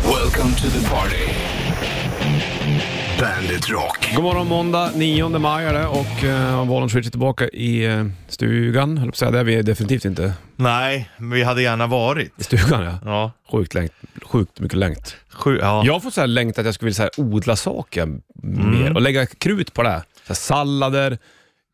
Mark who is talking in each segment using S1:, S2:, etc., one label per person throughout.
S1: Welcome to the party. Bandit Rock.
S2: God morgon måndag 9 maj är det och eh, Bollens Switch är tillbaka i eh, stugan, höll jag på att säga. Det är vi definitivt inte.
S3: Nej, men vi hade gärna varit.
S2: I stugan ja.
S3: Ja.
S2: Sjukt, längt, sjukt mycket längt.
S3: Sju, ja.
S2: Jag får så här längt att jag skulle vilja så här odla saker
S3: Mm.
S2: mer och lägga krut på det. här. Så här sallader,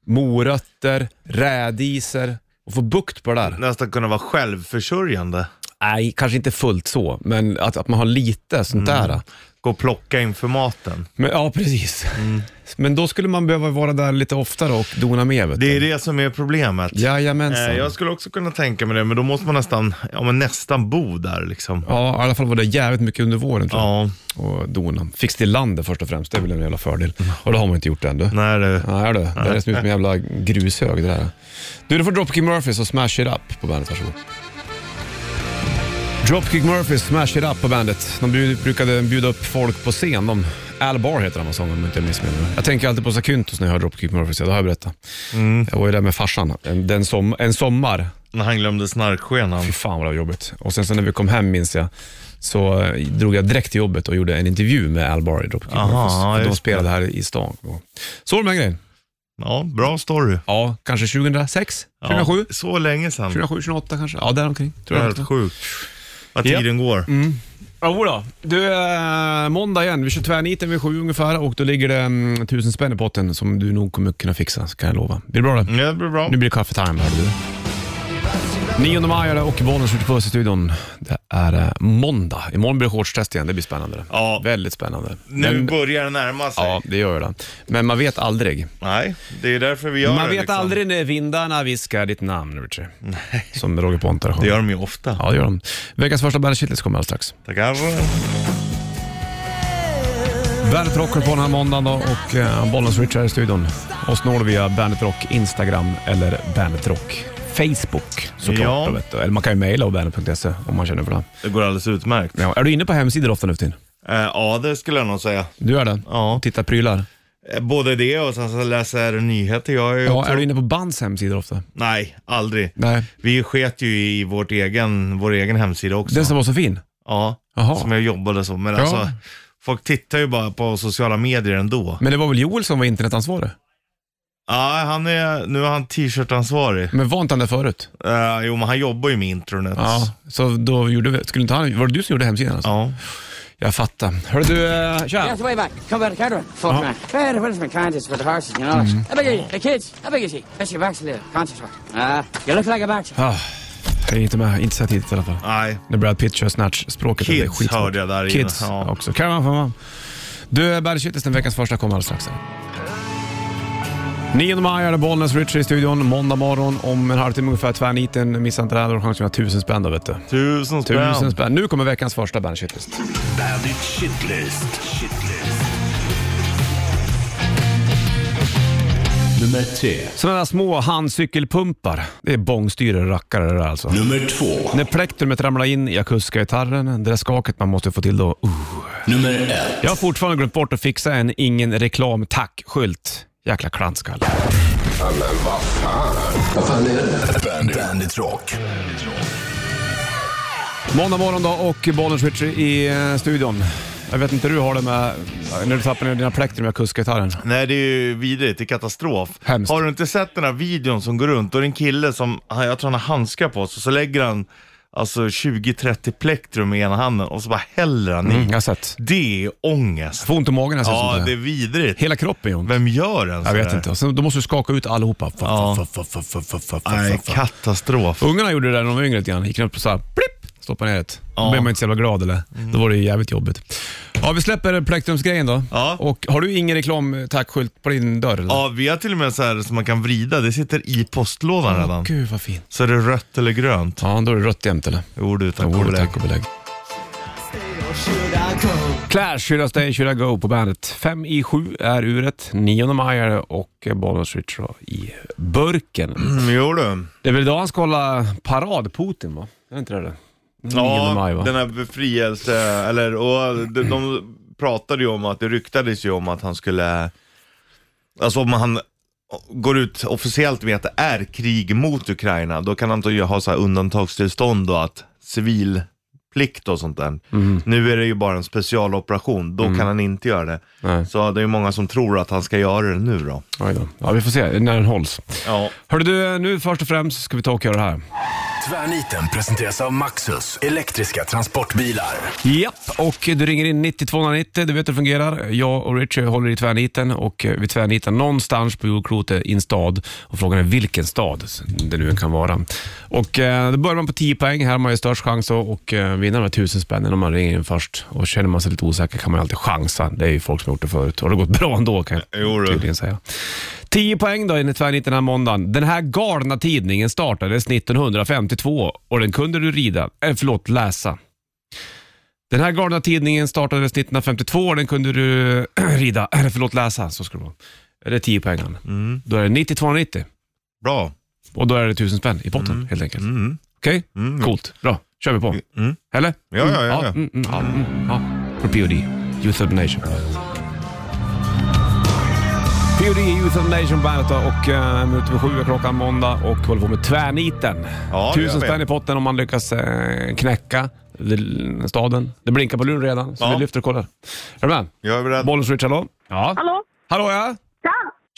S2: morötter, rädisor och få bukt på det där.
S3: Nästan kunna vara självförsörjande.
S2: Nej, kanske inte fullt så, men att, att man har lite sånt
S3: Mm.
S2: där.
S3: Gå och plocka inför maten.
S2: Men, ja, precis.
S3: Mm.
S2: Men då skulle man behöva vara där lite oftare och dona med. Vet
S3: Det är
S2: du.
S3: det som är problemet.
S2: Jajamensan.
S3: Eh, Jag skulle också kunna tänka mig det, men då måste man nästan, ja, men nästan bo där liksom.
S2: Ja, i alla fall var det jävligt mycket under våren tror jag.
S3: Ja,
S2: Och dona. Fix till landet först och främst, det är väl en jävla fördel. Och det har man inte gjort än du.
S3: Mm. nej du.
S2: Nej du, det är som en jävla grushög det där. Du, du får Dropkick Murphys och Smash It Up på bandet, varsågod. Dropkick Murphys, Smash It Up på bandet. De bjud- brukade bjuda upp folk på scen. De, Al Bar heter han var sångaren om jag inte missminner mig. Jag tänker alltid på Sakyntos när jag hör Dropkick Murphys, ja, det har jag berättat. Jag var ju där med farsan en, den som, en sommar
S3: När han glömde snarkskenan.
S2: Fy fan vad det var jobbigt. Och sen så när vi kom hem minns jag, så eh, drog jag direkt till jobbet och gjorde en intervju med Al Bar i Dropkick
S3: Aha,
S2: Murphys.
S3: ja,
S2: För De
S3: just
S2: spelade här i stan. Så var det med den grejen.
S3: Ja, bra story.
S2: Ja, kanske 2006,
S3: Ja,
S2: 2007,
S3: Så länge sedan.
S2: 2007, 2008 kanske. Ja, däromkring.
S3: Det är helt sjukt. Vad
S2: Ja. Mm.
S3: tiden går.
S2: Jodå. Du, eh, måndag igen. Vi kör tvärniten vid sju ungefär och då ligger det mm, tusen spänn i potten som du nog kommer kunna fixa, så kan jag lova. Blir det bra det?
S3: Ja, det blir bra.
S2: Nu blir det kaffetime, hörde du. 9 maj är det och bollen skjuter på oss i studion. Det är eh, måndag. Imorgon blir det shortstest igen, det blir spännande.
S3: Ja.
S2: Väldigt spännande.
S3: Nu
S2: Men-
S3: börjar det närma sig.
S2: Ja, det gör det. Men man vet aldrig.
S3: Nej, det är därför vi gör
S2: man
S3: det.
S2: vet
S3: liksom.
S2: aldrig när vindarna viskar ditt namn, Richie. Som Roger Pontare
S3: Det
S2: sjunger.
S3: gör de ju ofta.
S2: Ja, det gör de. Veckans första Bandet Shitlist kommer alldeles strax.
S3: Tackar.
S2: Bandet Rock är på den här måndagen då och eh, Bollens Richie är i studion. Oss når du via Bandet Rock Instagram eller Bandet Rock Facebook såklart.
S3: Ja.
S2: då Vet du. Eller man kan ju mejla bandet.se om man känner för det.
S3: Det går alldeles utmärkt.
S2: Ja, är du inne på hemsidor ofta nu för tiden?
S3: Eh, Ja, det skulle jag nog säga.
S2: Du är det?
S3: Ja.
S2: Tittar prylar?
S3: Eh, Både det och sen så läser jag nyheter. Jag är ju
S2: Ja,
S3: också...
S2: är du inne på bands hemsidor ofta?
S3: Nej, aldrig.
S2: Nej.
S3: Vi sket ju i vårt egen, vår egen hemsida också.
S2: Den som var så fin?
S3: Ja,
S2: Jaha.
S3: som jag jobbade så. Men
S2: Ja.
S3: alltså, folk tittar ju bara på sociala medier ändå.
S2: Men det var väl Joel som var internetansvarig?
S3: Ja, han är, nu är han t-shirtansvarig.
S2: Men var inte han där förut?
S3: Eh, jo, men han jobbar ju med intranet.
S2: Ja, så då gjorde vi, skulle inte han, var det du som gjorde hemsidan alltså?
S3: Ja.
S2: Jag fattar. Hörru du, eh,
S4: Yeah,
S2: tja!
S4: it's way back. Come back, Edward. Fuck, man. Where, where's my conscience for the horses, you know? How big are you? The kids? How big is he? That's your back's a little. Conscience for. Ah, you look like a boxer.
S2: Ah, jag är inte med, inte så här tidigt i alla fall.
S3: Nej,
S2: När Brad Pitt kör snatch-språket.
S3: Kids
S2: det är skitsvårt.
S3: hörde jag där inne,
S2: Kids
S3: ja.
S2: också. Kan man, får man. Du, Bergshittis, den veckans första kommer alldeles strax. 9 maj är det Bollnäs Richie i studion. Måndag morgon om en halvtimme ungefär. Tvärniten, missa inte det här. Då har du chansen att vinna tusen spänn då, vet du.
S3: tusen spänn.
S2: Tusen spänn. Nu kommer veckans första Bergshittis.
S1: Bandit Shitlist. Shitlist. Nummer tre.
S2: Sådana där små handcykelpumpar. Det är bångstyre och rackare det där alltså.
S1: Nummer två.
S2: När plektrumet ramlar in i akustiska-gitarren, det där skaket man måste få till då. Uh.
S1: Nummer ett.
S2: Jag har fortfarande glömt bort att fixa en ingen reklam tack-skylt. Jäkla klantskalle.
S1: Bandit, Bandit Rock.
S2: Måndag morgon då och Bonniers Richie i eh, studion. Jag vet inte hur du har det med när du tappar ner dina plektrum med kuskgitarren.
S3: Nej, det är ju vidrigt. Det är katastrof.
S2: Hemskt.
S3: Har du inte sett den här videon som går runt? Då är det en kille som, han- jag tror han har handskar på sig, och så lägger han alltså 20-30 plektrum i ena handen och så bara häller han i.
S2: Mm, jag har sett.
S3: Det är ångest.
S2: Får ont i magen när jag ser
S3: Ja,
S2: sånt
S3: det
S2: där.
S3: är vidrigt.
S2: Hela kroppen Jon.
S3: Vem gör en
S2: Jag
S3: sån
S2: vet
S3: där?
S2: inte. Och Sen, då måste du skaka ut allihopa. Fa,
S3: Ja.
S2: fa, fa, fa, fa, fa, fa, fa,
S3: Nej,
S2: fa.
S3: katastrof.
S2: Ungarna gjorde det där när de var yngre lite grann. Gick upp och så här, blipp, stoppade ner det. Då
S3: Ja. Mm.
S2: blev man inte så jävla glad eller? Då var det ju jävligt jobbigt. Ja, vi släpper plektrumsgrejen då.
S3: Ja.
S2: Och har du ingen reklam eh, tackskylt på din dörr? Eller?
S3: Ja, vi har till och med så här som man kan vrida. Det sitter i postlådan redan.
S2: Gud vad fint.
S3: Så är det rött eller grönt.
S2: Ja, då är det rött jämt eller?
S3: Ord utan
S2: Jo,
S3: kobelägg.
S2: tack och belägg. Clash, Should I Stay, Should I Go på bandet. Fem i sju är uret, 9 maj är det och Bonus Rich i burken.
S3: Mm, jo du.
S2: Det är väl idag han ska hålla parad, Putin va? Är det inte det? 9 maj va?
S3: den här befrielse, eller och de, de pratade ju om att det ryktades ju om att han skulle, alltså om han går ut officiellt med att det är krig mot Ukraina, då kan han inte ha så här undantagstillstånd och att civil plikt och sånt där.
S2: Mm.
S3: Nu är det ju bara en specialoperation, då kan han inte göra det.
S2: Nej.
S3: Så det är ju många som tror att han ska göra det nu då.
S2: Oj då. Ja, vi får se när den hålls.
S3: Ja.
S2: Hörde du, nu först och främst ska vi ta och göra det här.
S1: Tvärniten presenteras av Maxus, elektriska transportbilar.
S2: Japp, och du ringer in 9290, du vet hur det fungerar. Jag och Richie håller i tvärniten och eh, vi tvärnitar någonstans på jordklotet i en stad. Och frågan är vilken stad det nu än kan vara. Och eh, då börjar man på 10 poäng, här har man ju störst chans att och, eh, vinna de här tusen spännen om man ringer in först. Och känner man sig lite osäker kan man ju alltid chansa. Det är ju folk som har gjort det förut och det har gått bra ändå kan jag
S3: Jo, du.
S2: tydligen säga. 10 poäng då enligt Tvärnit den här måndagen. Den här galna tidningen startades 1952 och den kunde du rida, eh, förlåt, läsa. Den här galna tidningen startades 1952 och den kunde du rida, eller förlåt läsa, så ska det vara. Det är 10 poäng.
S3: Mm.
S2: Då är det 90-290
S3: Bra.
S2: och då är det 1000 spänn i potten helt enkelt.
S3: Mm.
S2: Okej,
S3: Mm.
S2: coolt, bra. Kör vi på.
S3: Mm.
S2: Eller?
S3: Ja, ja,
S2: Mm,
S3: ja, ja.
S2: Mm, mm, ja, mm, ja. För POD, Youth of the Nation. POD, Youth of the Nation bandet då, och eh, minut över sju är klockan måndag och håller på med tvärniten.
S3: Ja, det gör
S2: Tusen
S3: vi.
S2: spänn i potten om man lyckas eh, knäcka l- staden. Det blinkar på luren redan, så
S3: Ja.
S2: vi lyfter och kollar. Är du med?
S3: Jag är beredd.
S2: Bollens Richard, hallå? Ja.
S5: Hallå?
S2: Hallå ja!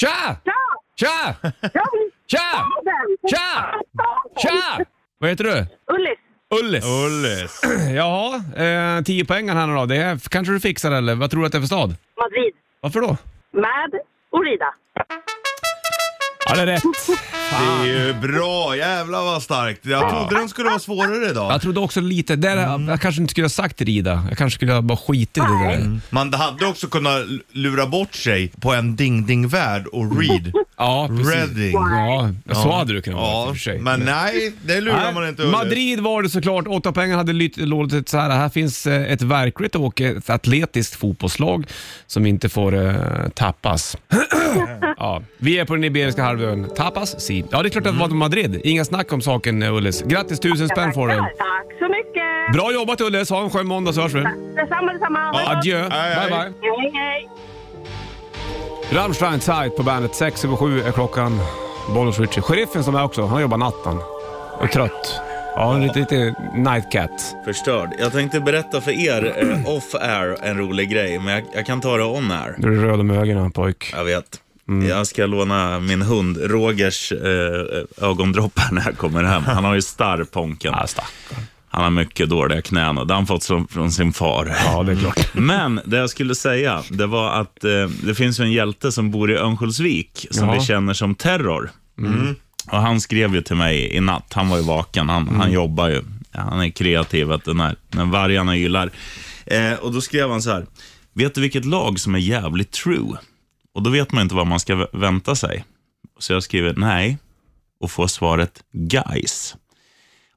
S5: Tja!
S2: Tja!
S5: Tja!
S2: Tja!
S5: Jag vill
S2: Tja! Tja! Tja! Vad heter du?
S5: Ullis.
S2: Ullis.
S3: Ullis.
S2: Jaha, eh, 10 poängen här nu då. Det är, kanske du fixar eller? Vad tror du att det är för stad?
S5: Madrid.
S2: Varför då?
S5: Med Orida.
S2: Ja, det är rätt.
S3: Det
S2: Ah.
S3: är ju bra. Jävlar vad starkt. Jag trodde den skulle vara svårare idag.
S2: Jag trodde också lite, där, jag kanske inte skulle ha sagt rida. Jag kanske skulle ha bara skitit i det där.
S3: Man hade också kunnat l- lura bort sig på en ding-ding-värld och read.
S2: Ja, precis.
S3: Reading.
S2: Ja, så hade du kunnat vara i
S3: Ja,
S2: och för sig.
S3: men nej, det lurar
S2: Nej,
S3: man inte Ullis.
S2: Madrid var det såklart. Åtta pengar hade lytt- låtit så här. Här finns eh, ett verkligt och ett atletiskt fotbollslag som inte får eh, tappas. ja, vi är på den Iberiska halvön. Tapas, si. Ja, det är klart att det var
S3: Mm.
S2: Madrid. Inga snack om saken, eh, Ullis. Grattis, tusen spänn får du.
S5: Tack så mycket!
S2: Bra jobbat Ullis. Ha en skön måndag så hörs vi.
S5: Detsamma, detsamma.
S2: Adjö.
S3: Hej,
S2: Bye,
S3: hej.
S2: bye.
S5: Hej, hej.
S2: Rammstein Zeit på bandet. sex över sju är klockan. Bollnäs Ritchie. Sheriffen som är också, han jobbar natten. Och är trött. Ja, lite, lite night cat.
S6: Förstörd. Jag tänkte berätta för er eh, off air en rolig grej, men jag, jag kan ta det on air.
S2: Du är röd om ögonen pojk.
S6: Jag vet. Jag ska låna min hund Rogers eh, ögondroppar när jag kommer hem. Han har ju starr ponken.
S2: Ja, stackarn.
S6: Han har mycket dåliga knän och det har han fått som- från sin far.
S2: Ja, det är
S3: Mm.
S2: klart.
S6: Men det jag skulle säga, det var att eh, det finns ju en hjälte som bor i Örnsköldsvik som
S2: Ja.
S6: vi känner som Terror. Och han skrev ju till mig i natt, han var ju vaken, han, han jobbar ju. Han är kreativ, vet du, när, när vargarna gillar. Eh, och då skrev han så här, vet du vilket lag som är jävligt true? Och då vet man inte vad man ska vä- vänta sig. Så jag skriver nej och får svaret guys.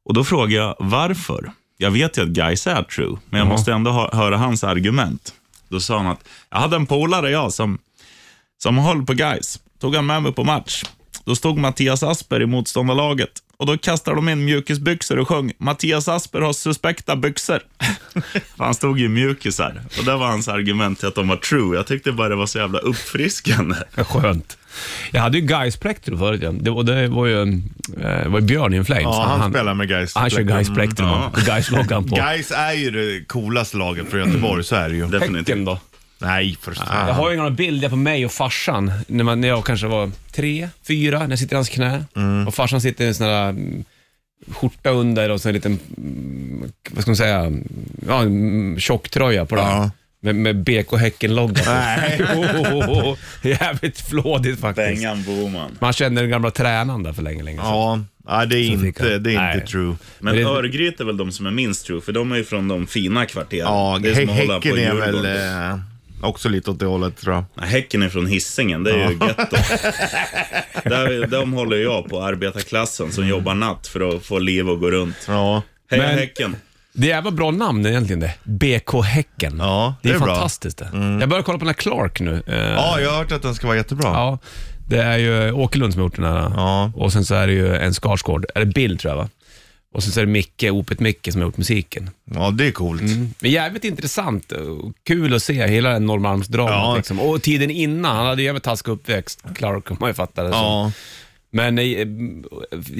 S6: Och då frågar jag varför. Jag vet ju att guys är true, men jag måste ändå hö- höra hans argument. Då sa han att jag hade en polare jag som, som höll på guys. Tog han med mig på match. Då stod Mattias Asper i motståndarlaget och då kastade de in mjukisbyxor och sjöng Mattias Asper har suspekta byxor. För han stod ju i mjukisar och det var hans argument till att de var true. Jag tyckte bara det var så jävla uppfriskande.
S2: Skönt. Jag hade ju Gais plektrum förut. ja. Det, och det var ju, eh, var ju Björn i en Flames.
S3: Ja, han, spelar med Gais.
S2: Han kör Gais plektrum.
S6: Mm,
S2: och Gais-loggan på.
S3: Gais är ju det coolaste laget från Göteborg, så är det ju.
S6: Definitivt.
S2: Häcken då.
S3: Nej, för fan.
S2: Jag har ju några bilder på mig och farsan när, man, när jag kanske var tre, fyra, när jag sitter i hans knä.
S3: Mm.
S2: Och farsan sitter i en sån där mm, skjorta under och så en liten, mm, vad ska man säga, ja, en tjocktröja på den.
S3: Ja.
S2: Med, med BK Häcken-loggan på. Oh,
S3: Nej.
S2: Jo, Jävligt flådigt faktiskt.
S6: Bengan Boman.
S2: Man känner den gamla tränaren där för länge, länge sedan.
S3: Ja, nej, det är
S2: Så fick
S3: inte,
S2: han.
S3: det är
S2: Nej.
S3: inte true.
S2: Men
S6: Men
S2: det-
S6: Örgryte är väl de som är minst true, för de är ju från de fina kvarteren.
S3: Ja,
S6: det är som att hålla på
S3: Häcken är
S6: Djurgården.
S3: väl eh, också lite åt det hållet tror jag.
S6: Nej, häcken är från Hisingen, det är ju getto. Där, de håller jag på, arbetarklassen som jobbar natt för att få liv och gå runt.
S3: Ja,
S6: Hej
S2: Men-
S6: Häcken!
S2: Det är jävla bra namn egentligen det. BK Häcken.
S3: Ja,
S2: det,
S3: det
S2: är,
S3: är bra. Mm.
S2: fantastiskt det. Jag börjar kolla på den här Clark nu. Eh,
S3: ja jag har hört att den ska vara jättebra.
S2: Ja, det är ju Åkerlund som har gjort den här.
S3: Ja.
S2: Och sen så är det ju en Skarsgård, eller Bill tror jag va? Och sen så är det Micke, Opet Micke som har gjort musiken.
S3: Ja, det är coolt.
S2: Men jävligt intressant och kul att se hela den Norrmalmsdramat
S3: Ja.
S2: liksom. Och tiden innan, han hade ju jävligt taskig uppväxt, Clark om man ju fattar det som.
S3: Ja.
S2: Men eh,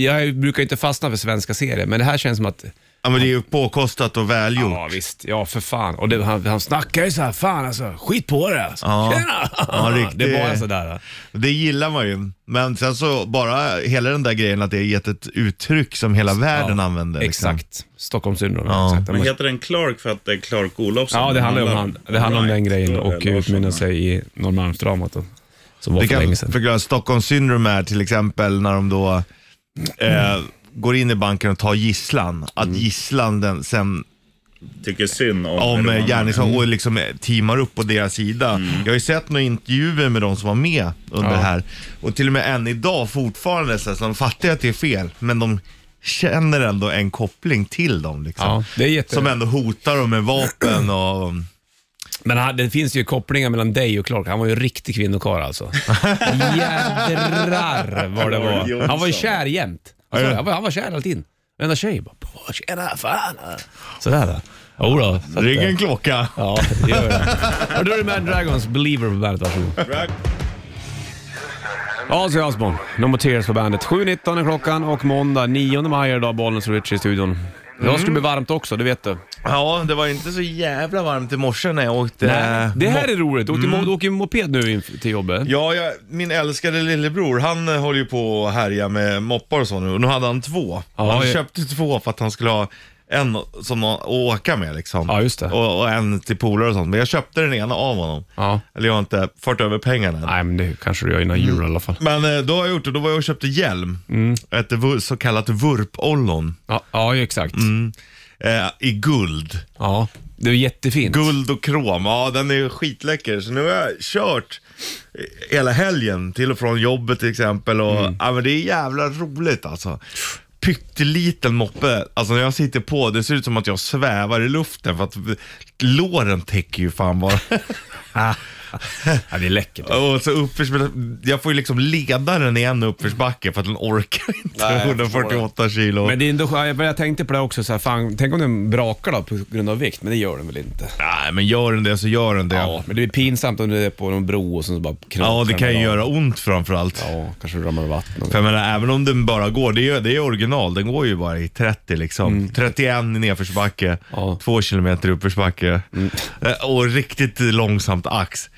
S2: jag brukar inte fastna för svenska serier, men det här känns som att
S3: Ja, men det är ju påkostat och välgjort.
S2: Ja visst, ja för fan. Och det, han, han snackar ju så här, fan alltså, skit på det alltså.
S3: Ja.
S2: Tjena!
S3: Ja, riktigt.
S2: Det är bara sådär.
S3: Det gillar man ju. Men sen så bara hela den där grejen att det är gett ett uttryck som hela världen använder. liksom.
S2: Exakt, Stockholmssyndrom.
S3: Ja.
S2: Exakt.
S6: Men heter den Clark för att det är Clark Olofsson?
S2: Ja, det handlar om, han, det handlar om den
S6: Right.
S2: grejen
S6: Då är
S2: och
S6: det
S2: utmynnar
S6: Larsson.
S2: sig i Norrmalmsdramat då, som var
S3: Vi
S2: för
S3: kan
S2: länge sedan.
S3: förklara, Stockholms syndrom är till exempel när de då eh, går in i banken och tar gisslan. Att
S2: Mm.
S3: gisslan den, sen
S6: Tycker synd om,
S3: om eh, Mm.
S6: Roman.
S3: gärningsmannen och liksom eh, teamar upp på deras sida. Jag har ju sett några intervjuer med de som var med under
S2: Ja.
S3: det här och till och med än idag fortfarande så här, så de fattar ju att det är fel men de känner ändå en koppling till dem liksom.
S2: Ja, det är jätte...
S3: Som ändå hotar dem med vapen och...
S2: Men han, det finns ju kopplingar mellan dig och Clark. Han var ju en riktig kvinnokarl alltså. Jädrar vad det var. Han var ju kär jämt. Han, sa det, han, var, han var kär alltid. Varenda tjej bara, "Åh, tjena fan. Sådär då. Jodå. så att,
S3: Ring
S2: eh,
S3: en klocka.
S2: Ja, det gör jag. Och då är det Mad Dragons Believer på bandet, varsågod. Ozzy Osbourne, No More Tears på bandet. 7.19 är klockan och måndag 9 maj är det idag Bollnäs och Richie i studion. Idag ska det bli varmt också, det vet du.
S3: Ja, det var inte så jävla varmt i morse när jag åkte...
S2: Nej, det här är roligt. Du åker, mm. åker moped nu in till jobbet.
S3: Ja, jag, min älskade lillebror, han eh, håller ju på och härjar med moppar och så nu. Och nu hade han två.
S2: Ja,
S3: han
S2: jag-
S3: köpte två för att han skulle ha en som att åka med liksom.
S2: Ja, just det.
S3: Och, och en till polare och sånt. Men jag köpte den ena av honom.
S2: Ja.
S3: Eller jag har inte fört över pengarna än.
S2: Nej, men det kanske du gör innan jul i alla fall.
S3: Men eh, då har jag gjort det. Då var jag och köpte hjälm.
S2: Mm.
S3: Ett vu- så kallat vurpollon.
S2: Ja, ja exakt.
S3: Eh, I guld.
S2: Ja, Mm. det är jättefint.
S3: Guld och krom, ja den är ju skitläcker. Så nu har jag kört hela helgen till och från jobbet till exempel. Och,
S2: Mm.
S3: ja, men det är jävla roligt alltså. Pytteliten moppe, alltså när jag sitter på det ser ut som att jag svävar i luften för att låren täcker ju fan bara.
S2: Ja, det är läckert.
S3: och så uppförs, jag får ju liksom leda den i en uppförsbacke för att den orkar inte
S2: Nej, jag förstår
S3: 148 kilo.
S2: Men det är ändå, skönt. jag jag tänkte på det också, så här, fan, tänk om den brakar då på grund av vikt, men det gör den väl inte?
S3: Nej men gör den det så gör den det.
S2: Ja,
S3: Ja,
S2: men det blir pinsamt om du är på någon bro och sen så bara knakar
S3: det
S2: den
S3: kan ju
S2: där.
S3: göra ont framförallt.
S2: Ja, kanske du ramlar i vattnet.
S3: För jag menar, även om den bara går, det är ju det är original, den går ju bara i 30 liksom. 31 i nedförsbacke,
S2: Mm. Ja. Mm.
S3: 2 kilometer i uppförsbacke Eh, och riktigt långsamt ax.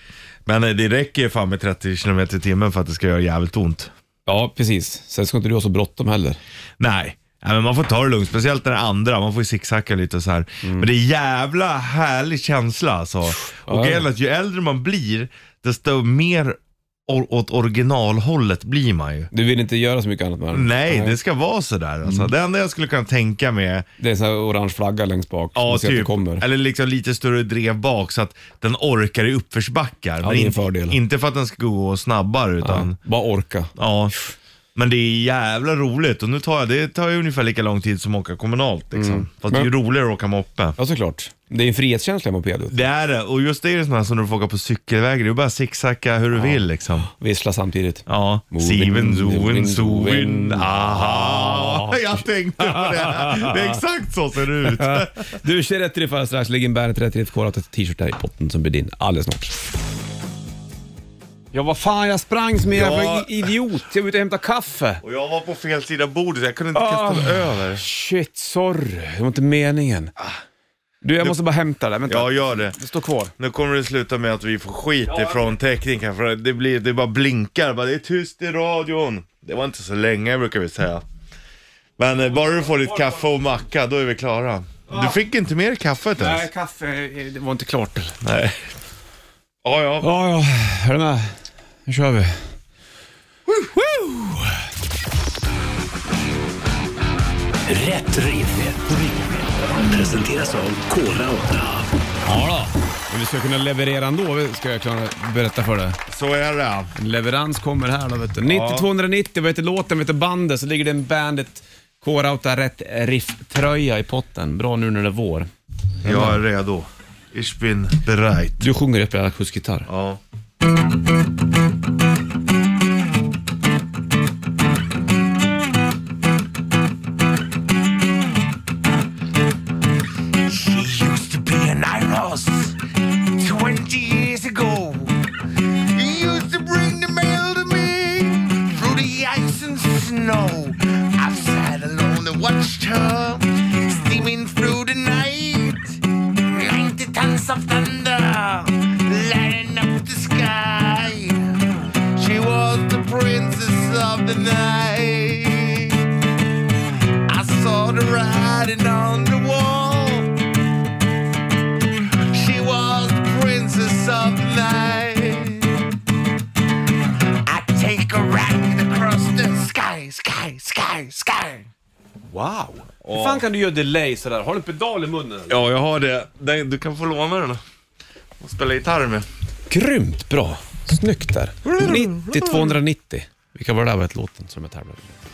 S3: Men eh, det räcker ju fan med 30 kilometer i timmen för att det ska göra jävligt ont.
S2: Ja, precis. Sen ska inte du ha så bråttom heller.
S3: Nej. Nej, men man får ta det lugnt, speciellt den andra. Man får ju zigzacka lite och så här. Men det är jävla härlig känsla alltså. Och
S2: Mm. Ja.
S3: grejen är att ju äldre man blir, desto mer or- åt originalhållet blir man ju.
S2: Du vill inte göra så mycket annat med den.
S3: Nej, det ska vara sådär. Alltså. Det enda jag skulle kunna tänka mig
S2: Det är en sån här orange flagga längst bak.
S3: Ja,
S2: Man ser att det
S3: typ.
S2: kommer.
S3: Eller liksom lite större drev bak så att den orkar i uppförsbackar.
S2: det är en
S3: inte-
S2: fördel.
S3: Inte för att den ska gå snabbare
S2: Ja,
S3: utan,
S2: bara orka.
S3: ja. Men det är jävla roligt och nu tar jag, det tar ju ungefär lika lång tid som att åka kommunalt liksom. Fast det är ju roligare att åka moppe.
S2: Ja, såklart. Det är en frihetskänsla i moped.
S3: Det är det, och just det är det sådana som du får åka på cykelvägar. Det är bara zigzacka hur du vill liksom.
S2: Vissla samtidigt.
S3: Ja,
S2: Moving,
S3: Siven, Zoen,
S2: moving,
S3: Zoen,
S2: moving.
S3: aha. Jag tänkte på det. Det är exakt så ser det ut.
S2: Du, kör rätt riff alldeles strax. Lägg in bandet rätt riff. Kolla att ett t-shirt här i potten som blir din alldeles snart. Ja, vad fan, jag sprang som en
S3: Ja.
S2: jävla idiot. Jag var ute och hämtade kaffe.
S3: Och jag var på fel sida bordet, jag kunde inte kasta den över.
S2: Shit, sorry. Det var inte meningen. Du, jag måste bara hämta det. Vänta,
S3: Ja, gör det.
S2: det står kvar.
S3: Nu kommer det sluta med att vi får skit ifrån tekniken för det, blir, det bara blinkar. Bara, det är tyst i radion. Det var inte så länge brukar vi säga. Men eh, bara du får ditt kaffe och macka, då är vi klara. Du fick inte mer kaffet ens?
S2: kaffe, det var inte klart.
S3: Nej. Ja, ja.
S2: Ja, ja, är du med? Nu kör vi.
S1: Rätt riff. Presenteras av Kora 8.
S2: Ja då. Men vi ska kunna leverera ändå, ska jag kunna berätta för dig.
S3: Så är det.
S2: En leverans kommer här då vet du. 9290, vad heter låten, vad heter bandet? Så ligger det en bandet K-Rauta Rätt Riff-tröja i potten. Bra nu när det är vår.
S3: Jag är redo. Ich bin bereit.
S2: Du sjunger upp hela kursgitarr.
S3: Ja.
S7: She used to be an Iros 20 years ago. He used to bring the mail to me through the ice and snow. I've sat alone and watched her steaming of thunder lighting up the sky. She was the princess of the night. I saw the writing on the wall. She was the princess of the night. I take a ride across the sky, sky, sky, sky.
S3: Wow.
S2: Hur fan kan du göra delay sådär? Har du en pedal i munnen? eller?
S3: Ja, jag har det. Den- Du kan få låna den. Och spela gitarr med.
S2: Grymt bra. Snyggt där. 90-290. Vilka var det där varit låten som jag tävlade med?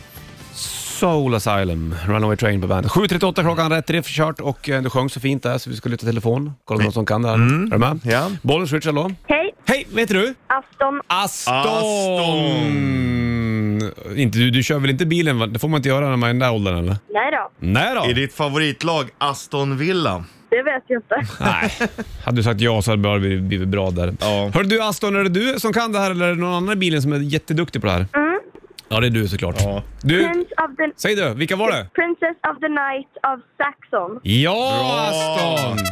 S2: Soul Asylum, Runaway Train på bandet. 7.38 klockan, rätt riff kört och eh, du sjöng så fint där så vi skulle lyfta telefon. Kolla om någon som kan det här. Är du med?
S3: Ja.
S2: Bollens Switch, hallå?
S5: Hej,
S2: Hej, vad heter du?
S5: Aston.
S2: Aston!
S3: Aston.
S2: Inte, du, du kör väl inte bilen? va? Det får man inte göra när man är i den där åldern eller?
S5: Nej då,
S2: Nej då.
S3: I ditt favoritlag Aston Villa.
S5: det vet jag inte.
S2: Nej. Hade du sagt ja så hade det bara blivit blivit bra där.
S3: Ja.
S2: Hör du Aston, är det du som kan det här eller är det någon annan i bilen som är jätteduktig på det här? Ja, det är du såklart.
S3: Ja.
S2: Du,
S5: Prince of the...
S2: säg du, vilka var det?
S5: Princess of the Night of Saxon.
S2: Ja,
S3: Bra!
S2: Aston!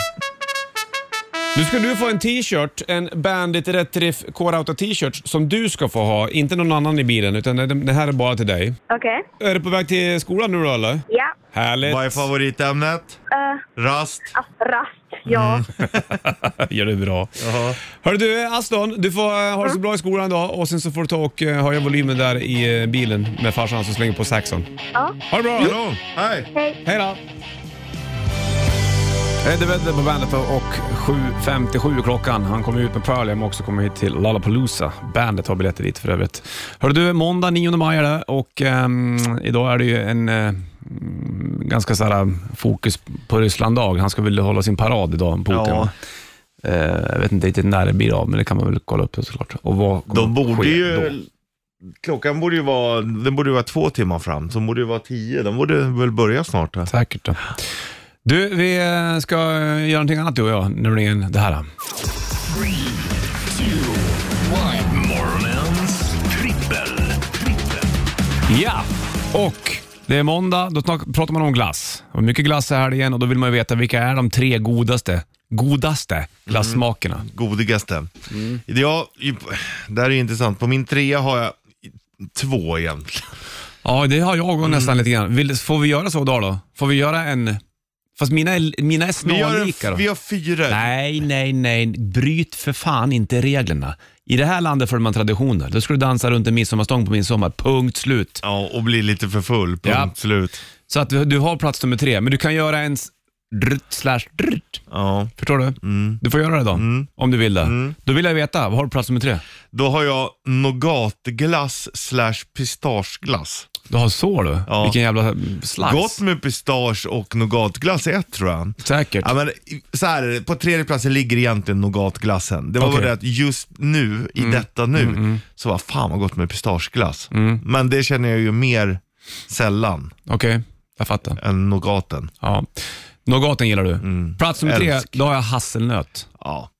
S2: Nu ska du få en t-shirt, en Bandit Rätt Riff Core Auto t-shirt som du ska få ha, inte någon annan i bilen utan den den här är bara till dig.
S5: Okej.
S2: Är du på väg till skolan nu då eller?
S5: Ja.
S2: Härligt!
S3: Vad är favoritämnet?
S5: eh,
S3: Rast.
S5: ass- rast. Ja.
S2: Mm. Gör det bra.
S3: Jaha.
S2: Hör du Aston, du får eh, ha det så bra i skolan idag och sen så får du ta och eh, höja volymen där i eh, bilen med farsan som slänger på saxon.
S5: ja.
S2: Ha det bra!
S3: Hallå, hej.
S2: Hej då! Eddie Vedder på bandet och 7.57 klockan. Han kommer ut med Pearl, jag också kommer hit till Lollapalooza. Bandet har biljetter dit för övrigt. Hör du, måndag 9 maj är det och ehm, idag är det ju en eh, mm, ganska så här, fokus på Ryssland-dag. Han ska väl hålla sin parad idag, Putin.
S3: Ja.
S2: Ja. jag vet inte riktigt när det blir av, men det kan man väl kolla upp såklart. Och vad kommer
S3: De borde
S2: ske
S3: ju...
S2: då?
S3: Klockan borde ju vara, den borde ju vara två timmar fram, så den borde ju vara tio. De borde väl börja snart. här.
S2: Säkert. Då. Du, vi eh, ska eh, göra någonting annat du och jag, nämligen det här.
S1: Morgonens trippel. trippel.
S2: Ja, och det är måndag. Då snak- pratar man om glass. Och mycket glass är här igen och då vill man ju veta vilka är de tre godaste, godaste glassmakerna.
S3: Mm. Godigaste. Ja, ju- det här är ju intressant. På min trea har jag två egentligen.
S2: Ja, det har jag och
S3: Mm.
S2: nästan lite grann. Vill, får vi göra så idag då? Får vi göra en... Fast mina är, mina är
S3: Vi, gör en,
S2: snarlika då.
S3: vi har fyra.
S2: Nej, nej, nej. Bryt för fan inte reglerna. I det här landet följer man traditioner. Då ska du dansa runt en midsommarstång på midsommar. Punkt slut.
S3: Ja, och blir lite för full. Punkt
S2: Ja.
S3: slut.
S2: Så att du, du har plats nummer tre, men du kan göra en s- drutt slash drutt.
S3: Ja.
S2: Förstår du?
S3: Mm.
S2: Du får göra det då, om du vill det. Då vill jag veta, vad har du plats nummer tre?
S3: Då har jag nougatglass slash pistageglass.
S2: Du har så du?
S3: Ja.
S2: Vilken jävla slags.
S3: Gott med pistage och nougatglass är ett tror jag.
S2: Säkert.
S3: Ja, men, i- så här, är det. på tredje platsen ligger egentligen nougatglassen. Det var
S2: Okej. Mm.
S3: bara det att just nu, i detta nu, så var fan vad gott med pistageglass.
S2: Mm.
S3: Men det känner jag ju mer sällan
S2: Okej, jag fattar.
S3: än nougaten.
S2: Ja. Nougaten gillar du. Plats nummer tre,
S3: Mm. Älsk.
S2: då har jag hasselnöt.
S3: Ja.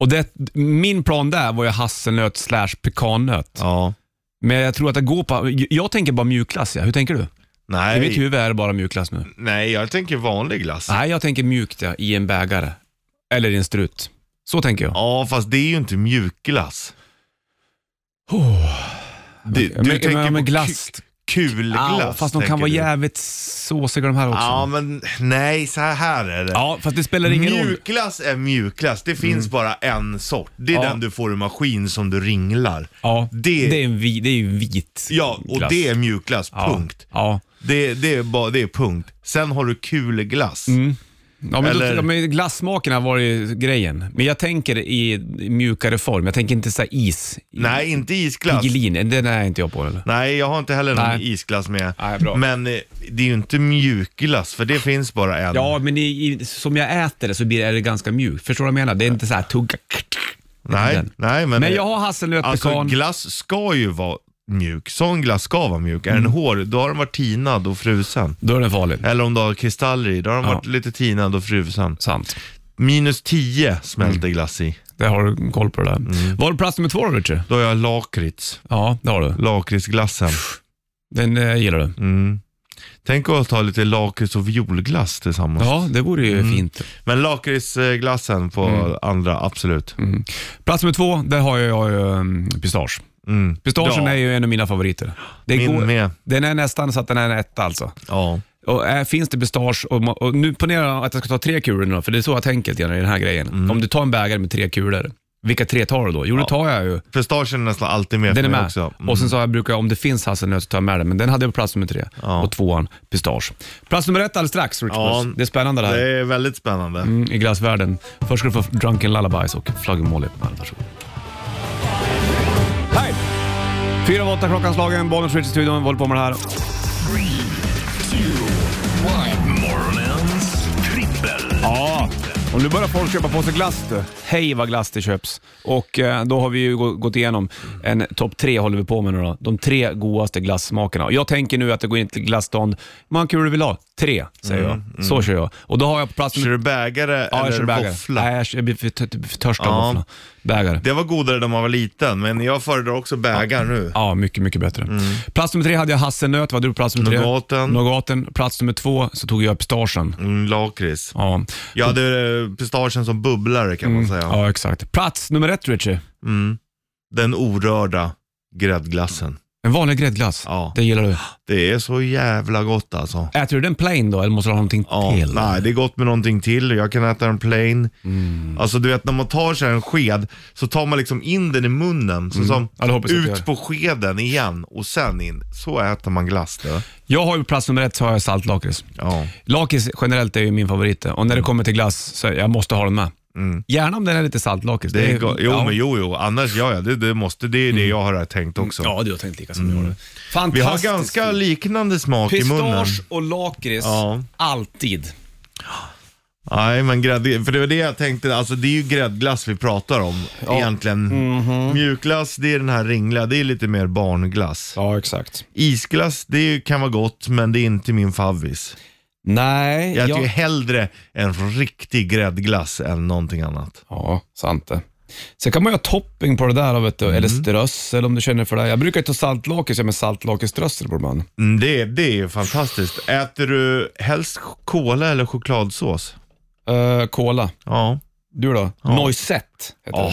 S2: Och det, min plan där var ju hasselnöt slash pekannöt.
S3: ja.
S2: Men jag tror att det går på... Jag tänker bara mjukglass, ja. Hur tänker du? I mitt
S3: Nej.
S2: huvud är det bara mjukglass nu.
S3: Nej, jag tänker vanlig glass.
S2: Nej, jag tänker mjukt ja, i en bägare. Eller i en strut. Så tänker jag.
S3: Ja, fast det är ju inte mjukglass. Du,
S2: Men-
S3: du
S2: men-
S3: tänker
S2: men
S3: på
S2: glass-
S3: ku- kulglass.
S2: Ja, fast de kan
S3: tänker
S2: vara
S3: du.
S2: jävligt såsiga de här också.
S3: Ja, men nej, så här är det.
S2: Ja, fast det spelar ingen roll. Mm.
S3: Mjukglass är mjukglass. Det finns bara en sort. Det är
S2: Ja.
S3: den du får i maskin som du ringlar.
S2: Ja,
S3: Det-
S2: det, är en vi, det är ju vit
S3: Ja, och
S2: glass.
S3: det är mjukglass.
S2: ja.
S3: Punkt.
S2: Ja.
S3: Det, det, är bara, det är punkt. Sen har du kulglass.
S2: Mm. Ja, men
S3: Eller-
S2: då, ja, men glassmakerna var ju grejen. Men jag tänker i mjukare form. Jag tänker inte så här is.
S3: Nej, inte isglass.
S2: Pigelin, den är inte jag på. Eller?
S3: Nej, jag har inte heller någon
S2: Nej.
S3: isglass med.
S2: Nej, bra.
S3: Men eh, det är ju inte mjukglass, för det finns bara en.
S2: Ja, men i, i, som jag äter det så blir det, är det ganska mjukt. Förstår du vad jag menar? Det är inte så här tugga.
S3: nej,
S2: den.
S3: nej, men...
S2: Men jag har hasselnöt,
S3: Alltså
S2: pekan.
S3: glass ska ju vara mjuk. Sån glass ska vara mjuk. Är
S2: Mm.
S3: den hård, då har den varit tinad och frusen.
S2: Då är den farlig.
S3: Eller om du har kristaller i, då har den
S2: Ja.
S3: varit lite tinad och frusen.
S2: Sant.
S3: Minus 10 smälter
S2: Mm.
S3: glass i.
S2: Det har du koll på det där. Var du plats nummer två då, Richard?
S3: Då har jag lakrits.
S2: Mm. Ja, det har du.
S3: Lakritsglassen.
S2: Den eh, gillar du.
S3: Mm. Tänk att ta lite lakrits och violglass tillsammans.
S2: Ja, det vore ju fint.
S3: Men lakritsglassen på
S2: Mm.
S3: andra, absolut.
S2: Plats nummer två, där har jag ju um, pistage. Pistagen
S3: Ja.
S2: är ju en av mina favoriter. Det
S3: Min med.
S2: Mm. Den är nästan så att den är en etta alltså.
S3: Ja.
S2: Och är, finns det pistage och, ma- och nu ponera att jag ska ta tre kulor nu då, för det är så jag tänker lite grann i den här grejen.
S3: Mm.
S2: Om du tar en bägare med tre kulor, vilka tre tar du då? Jo, då tar jag ju
S3: Pistagen är nästan alltid med
S2: den är
S3: för mig
S2: med.
S3: också. Mm.
S2: Och sen så har jag brukar jag, om det finns hasselnöt så tar jag med den, men den hade jag på plats nummer tre. Och tvåan, pistage. Plats nummer ett alldeles strax, Rich
S3: Ja.
S2: Puss. Det är spännande det här.
S3: Det är väldigt spännande.
S2: Mm, I glassvärlden. Först ska du få Drunken Lullabies och Flaggemål i Varsågod. Hej! Fyra av åtta klockan slagen, bollen switch i studion, vi håller på med det här.
S1: Morgonens trippel.
S2: Ja, och nu börjar folk köpa på sig glass du. Hej vad glass det köps. Och eh, då har vi ju gå- gått igenom en topp tre håller vi på med nu då. De tre godaste glassmakerna. Och Jag tänker nu att det går in till glasstånd. Hur många kulor vill du ha? Tre, säger jag. Så kör jag. Och då har jag på plats...
S3: Kör du bägare
S2: ja, jag kör
S3: eller
S2: bägare.
S3: våffla?
S2: Nej, jag kör- jag blir för, typ för, för törst av
S3: Ja.
S2: våffla. Bägare.
S3: Det var godare när man var liten, men jag föredrar också bägare nu.
S2: Ja, mycket, mycket bättre.
S3: Mm.
S2: Plats nummer tre hade jag hasselnöt. Vad hade du på plats nummer tre?
S3: Nougaten.
S2: Nougaten. Plats nummer två så tog jag pistagen.
S3: Mm, lakrits.
S2: Ja.
S3: Jag hade eh, pistagen som bubblare kan man säga.
S2: Mm. ja, exakt. Plats nummer ett, Richie.
S3: Den orörda gräddglassen.
S2: En vanlig gräddglass.
S3: Ja.
S2: Det gillar du.
S3: Det är så jävla gott alltså.
S2: Äter du den plain då, eller måste du ha någonting
S3: Ja,
S2: till?
S3: nej, det är gott med någonting till. Jag kan äta en plain.
S2: Mm.
S3: Alltså du vet när man tar sig en sked så tar man liksom in den i munnen. Så som
S2: Mm. Ja, det hoppas jag att jag
S3: ut
S2: gör.
S3: på skeden igen och sen in. Så äter man glass. Då.
S2: Jag har ju på plats nummer ett så har jag saltlakrits.
S3: Ja.
S2: Lakrits generellt är ju min favorit och
S3: Mm.
S2: när det kommer till glass så jag måste ha den med. Gärna om den är lite saltlakrits.
S3: Det är go- jo,
S2: ja. Mm.
S3: men jo, jo. Annars, ja, ja det, det, måste, det är det jag har tänkt också.
S2: Ja, du har tänkt lika som jag.
S3: Mm. Vi
S2: Fantastiskt.
S3: har ganska liknande smak i munnen.
S2: Pistage och lakrits,
S3: Ja.
S2: alltid.
S3: Nej, men grädd, för det var det jag tänkte, alltså det är ju gräddglass vi pratar om egentligen.
S2: Mhm.
S3: Mjukglass, det är den här ringliga, det är lite mer barnglass.
S2: Ja, exakt.
S3: Isglass, det är- kan vara gott, men det är inte min favvis.
S2: Nej,
S3: Jag äter
S2: jag-
S3: ju hellre en riktig gräddglass än någonting annat.
S2: Ja, sant det. Sen kan man ju ha topping på det där, vet
S3: Mm.
S2: du, eller strössel om du känner för det. Jag brukar ju ta saltlakrits, jag med saltlakritsströssel på ibland.
S3: Mm, Det, det är ju fantastiskt. Äter du helst ch- cola eller chokladsås?
S2: Uh, cola.
S3: Ja.
S2: Du då? Noisette heter
S3: Ja,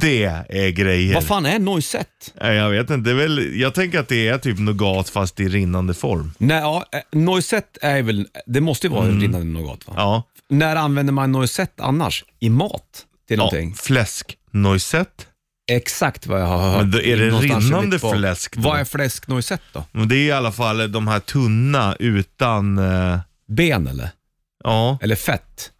S3: det är grejer.
S2: det. Vad fan är noisette?
S3: Nej, Jag vet inte, det är väl, jag tänker att det är typ nougat fast i rinnande form.
S2: Nej, ja, eh, noisette är väl, det måste ju vara
S3: Mm.
S2: rinnande nougat va?
S3: Ja.
S2: När använder man noisette annars? I mat? Till
S3: Ja,
S2: någonting?
S3: fläsk, noisette.
S2: Exakt vad jag har hört.
S3: Men då är det
S2: någonstans i mitt
S3: rinnande
S2: bak.
S3: fläsk då?
S2: Vad är fläsknoisette då?
S3: Men Det är i alla fall de här tunna utan, eh,
S2: Ben eller?
S3: ja,
S2: Eller fett?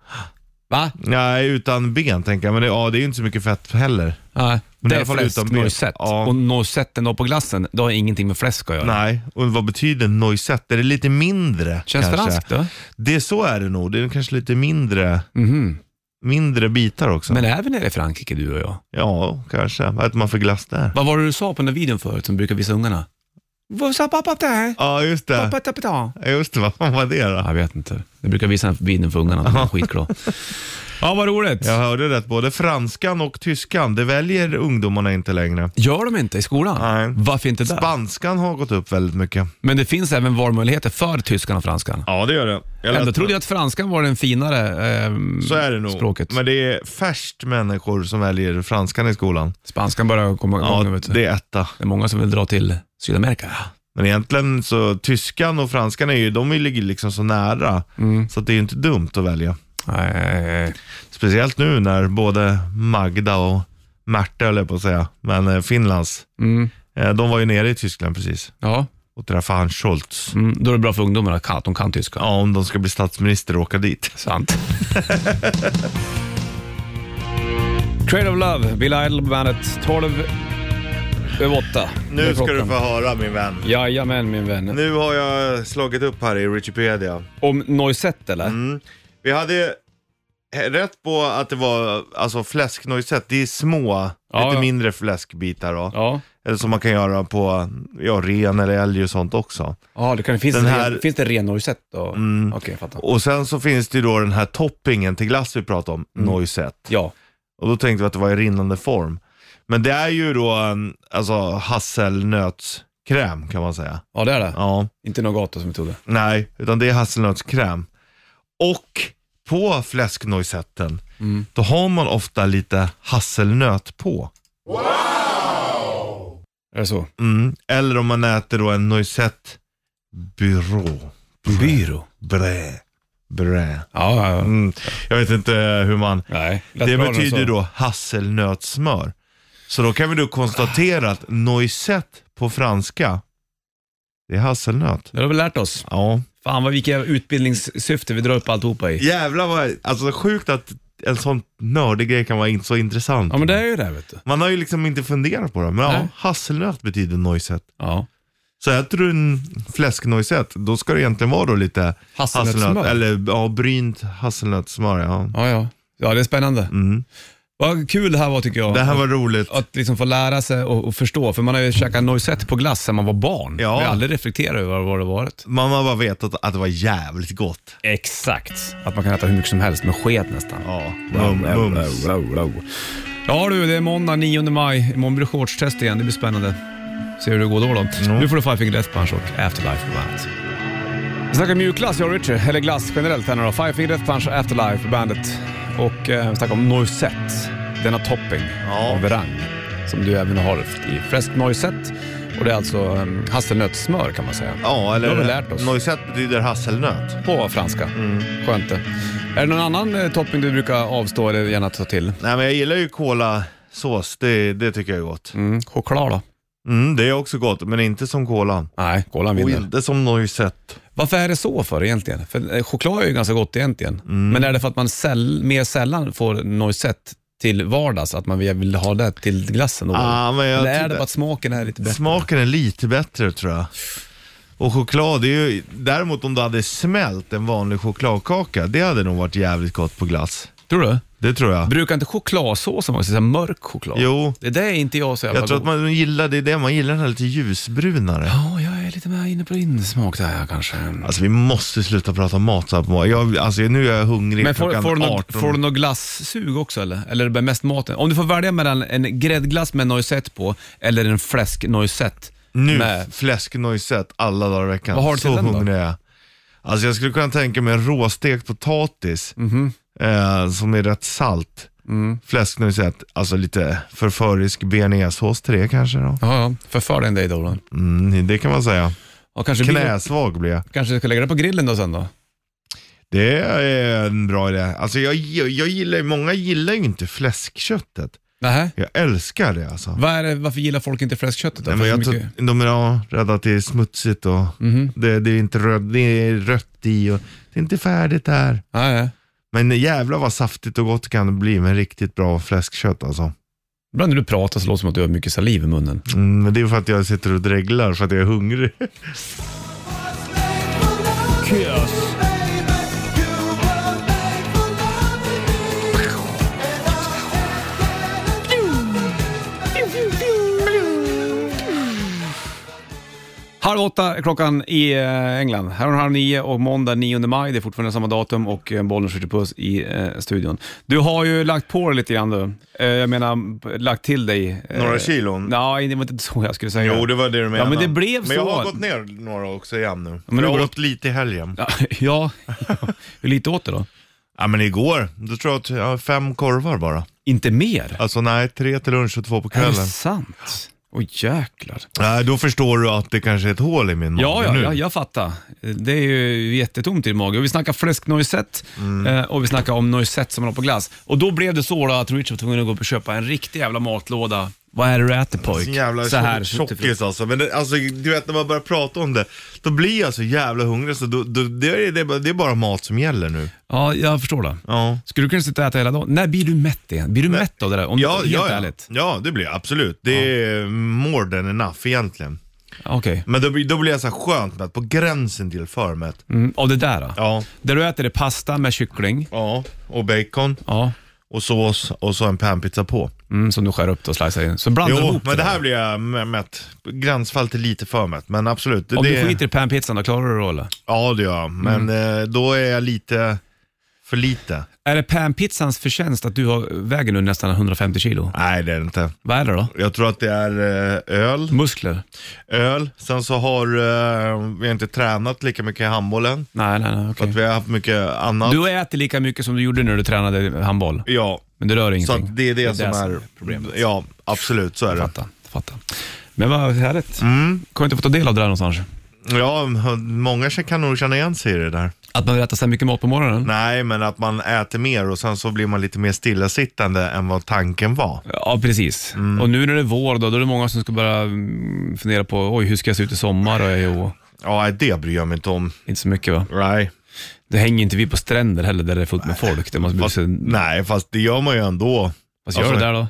S2: Va?
S3: nej utan ben tänker jag. Men det, ja, det är ju inte så mycket fett heller.
S2: Nej,
S3: Men
S2: det
S3: i
S2: är
S3: alla fall
S2: fläsk,
S3: utan ben.
S2: noisette.
S3: Ja.
S2: Och noisetten då på glassen, det har ingenting med fläsk att göra.
S3: Nej, och vad betyder noisette? Är det lite mindre
S2: Känns
S3: kanske?
S2: franskt då?
S3: Det så är det nog. Det är kanske lite mindre, mindre bitar också.
S2: Mhm. Men är vi nere i Frankrike du och jag?
S3: Ja, kanske. Vad äter man för glass där?
S2: Vad var det du sa på den där videon förut som brukar visa ungarna? Vad sa pappa där?
S3: Ja, just det.
S2: Pappa tappa
S3: Ja, Just det, vad fan var det då?
S2: Jag vet inte. Jag brukar visa den videon för ungarna. De är skitglada. Ja, vad roligt.
S3: Jag hörde rätt, både franskan och tyskan, det väljer ungdomarna inte längre.
S2: Gör de inte i skolan?
S3: Nej.
S2: Varför inte där?
S3: Spanskan har gått upp väldigt mycket.
S2: Men det finns även valmöjligheter för tyskan och franskan.
S3: Ja, det gör det. Jag
S2: Ändå
S3: läste-
S2: trodde jag att franskan var den finare ehm,
S3: Så är det nog.
S2: språket.
S3: Men det är färst människor som väljer franskan i skolan.
S2: Spanskan börjar komma igång
S3: Ja,
S2: nu. Vet du.
S3: det är etta.
S2: det är många som vill dra till Sydamerika.
S3: Men egentligen så tyskan och franskan är ju, de ligger liksom så nära.
S2: Mm.
S3: Så att det är ju inte dumt att välja.
S2: Nej.
S3: Speciellt nu när både Magda och Märta höll jag på att säga, men eh, Finlands,
S2: Mm.
S3: eh, de var ju nere i Tyskland precis
S2: Ja,
S3: och träffade han Scholz.
S2: mm. då är det bra för ungdomarna att de kan tyska.
S3: Ja, om de ska bli statsminister och åka dit.
S2: Sant. Trade of Love, Bill Idol på bandet. 12 över 8.
S3: Nu ska du få höra min vän.
S2: Jajamän min vän.
S3: Nu har jag slagit upp här i Wikipedia.
S2: Om Noisette eller?
S3: Mm. Vi hade rätt på att det var alltså fläsknojset. Det är små,
S2: Ja,
S3: lite
S2: ja.
S3: mindre fläskbitar då.
S2: Ja.
S3: Eller som man kan göra på ja, ren eller älg och sånt också.
S2: Ja, det kan, finns,
S3: Den
S2: det,
S3: här-
S2: ren- finns det ren Noisette då? Mm. Okej, jag fattar.
S3: Och sen så finns det ju då den här toppingen till glass vi pratade om, mm.
S2: Ja.
S3: Och då tänkte vi att det var i rinnande form. Men det är ju då en, alltså hasselnöts kräm mm, kan man säga.
S2: Ja, det är det.
S3: Ja.
S2: Inte Nagato som vi trodde.
S3: Nej, utan det är hasselnötskräm. Och på fläsknojsetten,
S2: Mm.
S3: då har man ofta lite hasselnöt på.
S2: Är det så?
S3: Mm. Eller om man äter då en noisette byrå.
S2: Byrå?
S3: Brä. Brä.
S2: Ja, ja, ja.
S3: Mm. Jag vet inte hur man...
S2: Nej, lät
S3: Det
S2: bra när du
S3: betyder
S2: sa.
S3: ju då hasselnötssmör. Så då kan vi då konstatera att noisette på franska, det är hasselnöt.
S2: Det har vi lärt oss.
S3: Ja.
S2: Fan vad vilka utbildningssyfte vi drar upp alltihopa i.
S3: Jävlar vad, alltså sjukt att en sån nördig grej kan vara in- så intressant.
S2: Ja men det är ju det vet du.
S3: Man har ju liksom inte funderat på det, men ja,
S2: Nej.
S3: hasselnöt betyder noisette.
S2: Ja.
S3: Så äter du en fläsknoisette, då ska det egentligen vara då lite
S2: Hasselnötssmör.
S3: eller ja, brynt hasselnötssmör. Ja.
S2: Ja, ja. Ja, det är spännande.
S3: Mm.
S2: Vad kul det här var tycker jag.
S3: Det här var roligt.
S2: Att liksom få lära sig och, och förstå, för man har ju käkat noisette på glass sedan man var barn.
S3: Ja.
S2: Vi har aldrig reflekterat över vad det varit.
S3: Man har bara vetat att det var jävligt gott.
S2: Exakt. Att man kan äta hur mycket som helst med sked nästan.
S3: Ja,
S2: Wow,
S3: mum,
S2: wow,
S3: mums.
S2: wow, wow, wow. Ja du, det är måndag 9 maj. Imorgon blir det shortstest igen, det blir spännande. Se hur det går då. då.
S3: Mm.
S2: Nu får du Five Finger Death Punch och Afterlife på bandet. Vi snackar mjukglass jag och Richard, eller glass generellt här nu då. Five Finger Death Punch och Afterlife på bandet. Och eh, vi snackar om noisette, denna topping
S3: Ja.
S2: av rang. Som du även har i fräscht noisette. Och det är alltså um, hasselnötssmör kan man säga.
S3: Ja,
S2: Det har vi
S3: eller
S2: lärt oss.
S3: noisette betyder hasselnöt.
S2: På franska.
S3: Mm.
S2: Skönt det. Är det någon annan eh, topping du brukar avstå eller gärna ta till?
S3: Nej, men jag gillar ju kolasås, det, det tycker jag är gott.
S2: Mm, choklad då?
S3: Mm, det är också gott, men inte som kolan.
S2: Nej, kolan
S3: Och
S2: vinner.
S3: inte som noisette.
S2: Varför är det så för egentligen? För eh, choklad är ju ganska gott egentligen.
S3: Mm.
S2: Men är det för att man säll, mer sällan får noisette till vardags? Att man vill ha det till glassen då?
S3: Ah, men jag
S2: eller är
S3: tyckte-
S2: det bara att smaken är lite bättre?
S3: Smaken är lite bättre tror jag. Och choklad, det är ju, däremot om du hade smält en vanlig chokladkaka, det hade nog varit jävligt gott på glass.
S2: Tror du?
S3: Det tror jag.
S2: Brukar inte chokladsåsen vara så här mörk choklad?
S3: Jo.
S2: Det där är inte jag så jävla
S3: Jag tror att
S2: god.
S3: man gillar, det är det man gillar den här lite ljusbrunare.
S2: Ja, jag är lite mer inne på din smak där kanske.
S3: Alltså vi måste sluta prata mat så här på morgonen. jag, alltså, nu är jag hungrig
S2: Men får,
S3: klockan
S2: får, du något,
S3: 18.
S2: får du något glassug också eller? Eller är det bara mest maten? Om du får välja mellan en gräddglass med noisette på eller en fläsknoisette
S3: Nu,
S2: med
S3: fläsknoisette alla dagar i veckan.
S2: Vad har du till
S3: Så
S2: den då?
S3: hungrig är jag. Alltså jag skulle kunna tänka mig en råstekt potatis
S2: Mhm.
S3: eh, som är rätt salt. Mm. Fläsknoisette, alltså lite förförisk bearnaisesås till det kanske då.
S2: Ja, ja. Förför den dig då. då.
S3: Mm, det kan man säga.
S2: Och kanske, vi,
S3: Knäsvag blir jag.
S2: kanske ska lägga det på grillen då sen då?
S3: Det är en bra idé. Alltså jag, jag, jag gillar, många gillar ju inte fläskköttet.
S2: Nähä?
S3: Jag älskar det alltså.
S2: Vad är det, varför gillar folk inte fläskköttet då?
S3: Nej,
S2: För
S3: men jag
S2: så
S3: tror,
S2: mycket-
S3: de är ja, rädda att det är smutsigt och det, det, är inte röd, det är rött i och det är inte färdigt där.
S2: Nej, nej.
S3: Men jävlar vad saftigt och gott kan det bli med riktigt bra fläskkött alltså.
S2: Ibland när du pratar så låter det som att du har mycket saliv i munnen.
S3: Mm, men det är för att jag sitter och dreglar för att jag är hungrig.
S2: Halv åtta är klockan i eh, England. Här är halv nio och måndag 9 maj. Det är fortfarande samma datum och eh, bollen skjuter puss i eh, studion. Du har ju lagt på dig lite grann du. Eh, jag menar, b- lagt till dig. eh,
S3: Några kilon?
S2: Nej, det var inte så jag skulle säga.
S3: var det du
S2: menade. men det blev
S3: Men jag
S2: så.
S3: har gått ner några också igen nu.
S2: men
S3: Men jag
S2: nu
S3: har
S2: går
S3: gått lite i helgen.
S2: Ja, ja. hur lite åt det då?
S3: Ja men igår, då tror jag att jag har fem korvar bara.
S2: Inte mer?
S3: Alltså nej, tre till lunch och två på
S2: Är det
S3: kvällen.
S2: sant? Åh jäklar.
S3: Nej, då förstår du att det kanske är ett hål i min mage
S2: Ja, ja,
S3: nu.
S2: ja, jag fattar. Det är ju jättetomt i magen. Och Vi snackar fläsknoisette
S3: Mm.
S2: eh, och vi snackar om noisette som man har på glass. Och då blev det så då att Richard var tvungen att gå upp och köpa en riktig jävla matlåda. Vad är det du äter pojk?
S3: Sån jävla
S2: så här. typ
S3: tjock- tjockis alltså. Men det, alltså, du vet när man börjar prata om det, då blir jag så jävla hungrig så då, då, det, är, det, är bara- det är bara mat som gäller nu.
S2: Ja, jag förstår det.
S3: Ja.
S2: Skulle du kunna sitta och äta hela dagen? När blir du mätt igen? Blir du mätt av det där? Om,
S3: Ja,
S2: helt
S3: ja, ja.
S2: ärligt.
S3: ja, det blir jag, absolut. Det är more than enough egentligen.
S2: Okej.
S3: Men då, blir- då blir jag så här skönt mätt, på gränsen till för mätt.
S2: Mm, av det där då?
S3: Ja.
S2: Där du äter är pasta med kyckling.
S3: Ja, och bacon
S2: Ja.
S3: och sås och så en panpizza på.
S2: Mm, som du skär upp då och slicear in. Så blandar du
S3: Jo,
S2: ihop
S3: men det
S2: där.
S3: här blir jag mä- mätt. Gränsfall till lite för mätt, men absolut. Det,
S2: Om
S3: det,
S2: du skiter i panpizzan, då klarar du det då eller?
S3: Ja, det gör jag. Men eh, då är jag lite För lite?
S2: Är det Pan-pizzans förtjänst att du har, väger nu nästan 150 kilo?
S3: Nej, det är det inte.
S2: Vad är det då?
S3: Jag tror att det är eh, öl.
S2: Muskler?
S3: öl. Sen så har eh, vi har inte tränat lika mycket i handbollen.
S2: Nej, nej, nej.
S3: För
S2: okej.
S3: att vi har haft mycket annat.
S2: Du äter lika mycket som du gjorde när du tränade handboll,
S3: Ja,
S2: men du rör
S3: så
S2: ingenting.
S3: att det är det, som är
S2: problemet.
S3: Ja, absolut så är det.
S2: Fattar, fattar. Men vad härligt.
S3: Mm.
S2: Kommer inte få ta del av det där någonstans?
S3: Ja, många kan nog känna igen sig i det där.
S2: Att man vill äta så här mycket mat på morgonen?
S3: Nej, men att man äter mer och sen så blir man lite mer stillasittande än vad tanken var.
S2: Ja, precis.
S3: Mm.
S2: Och nu när det är vår, då, då är det många som ska börja mm, fundera på, oj, hur ska jag se ut i sommar? Och jag, och,
S3: Ja, det bryr jag mig inte om.
S2: inte så mycket va?
S3: Nej.
S2: Det hänger inte vi på stränder heller där det är fullt med folk. Där man
S3: Fast,
S2: måste,
S3: nej, fast det gör man ju ändå.
S2: vad gör du
S3: Alltså,
S2: där då?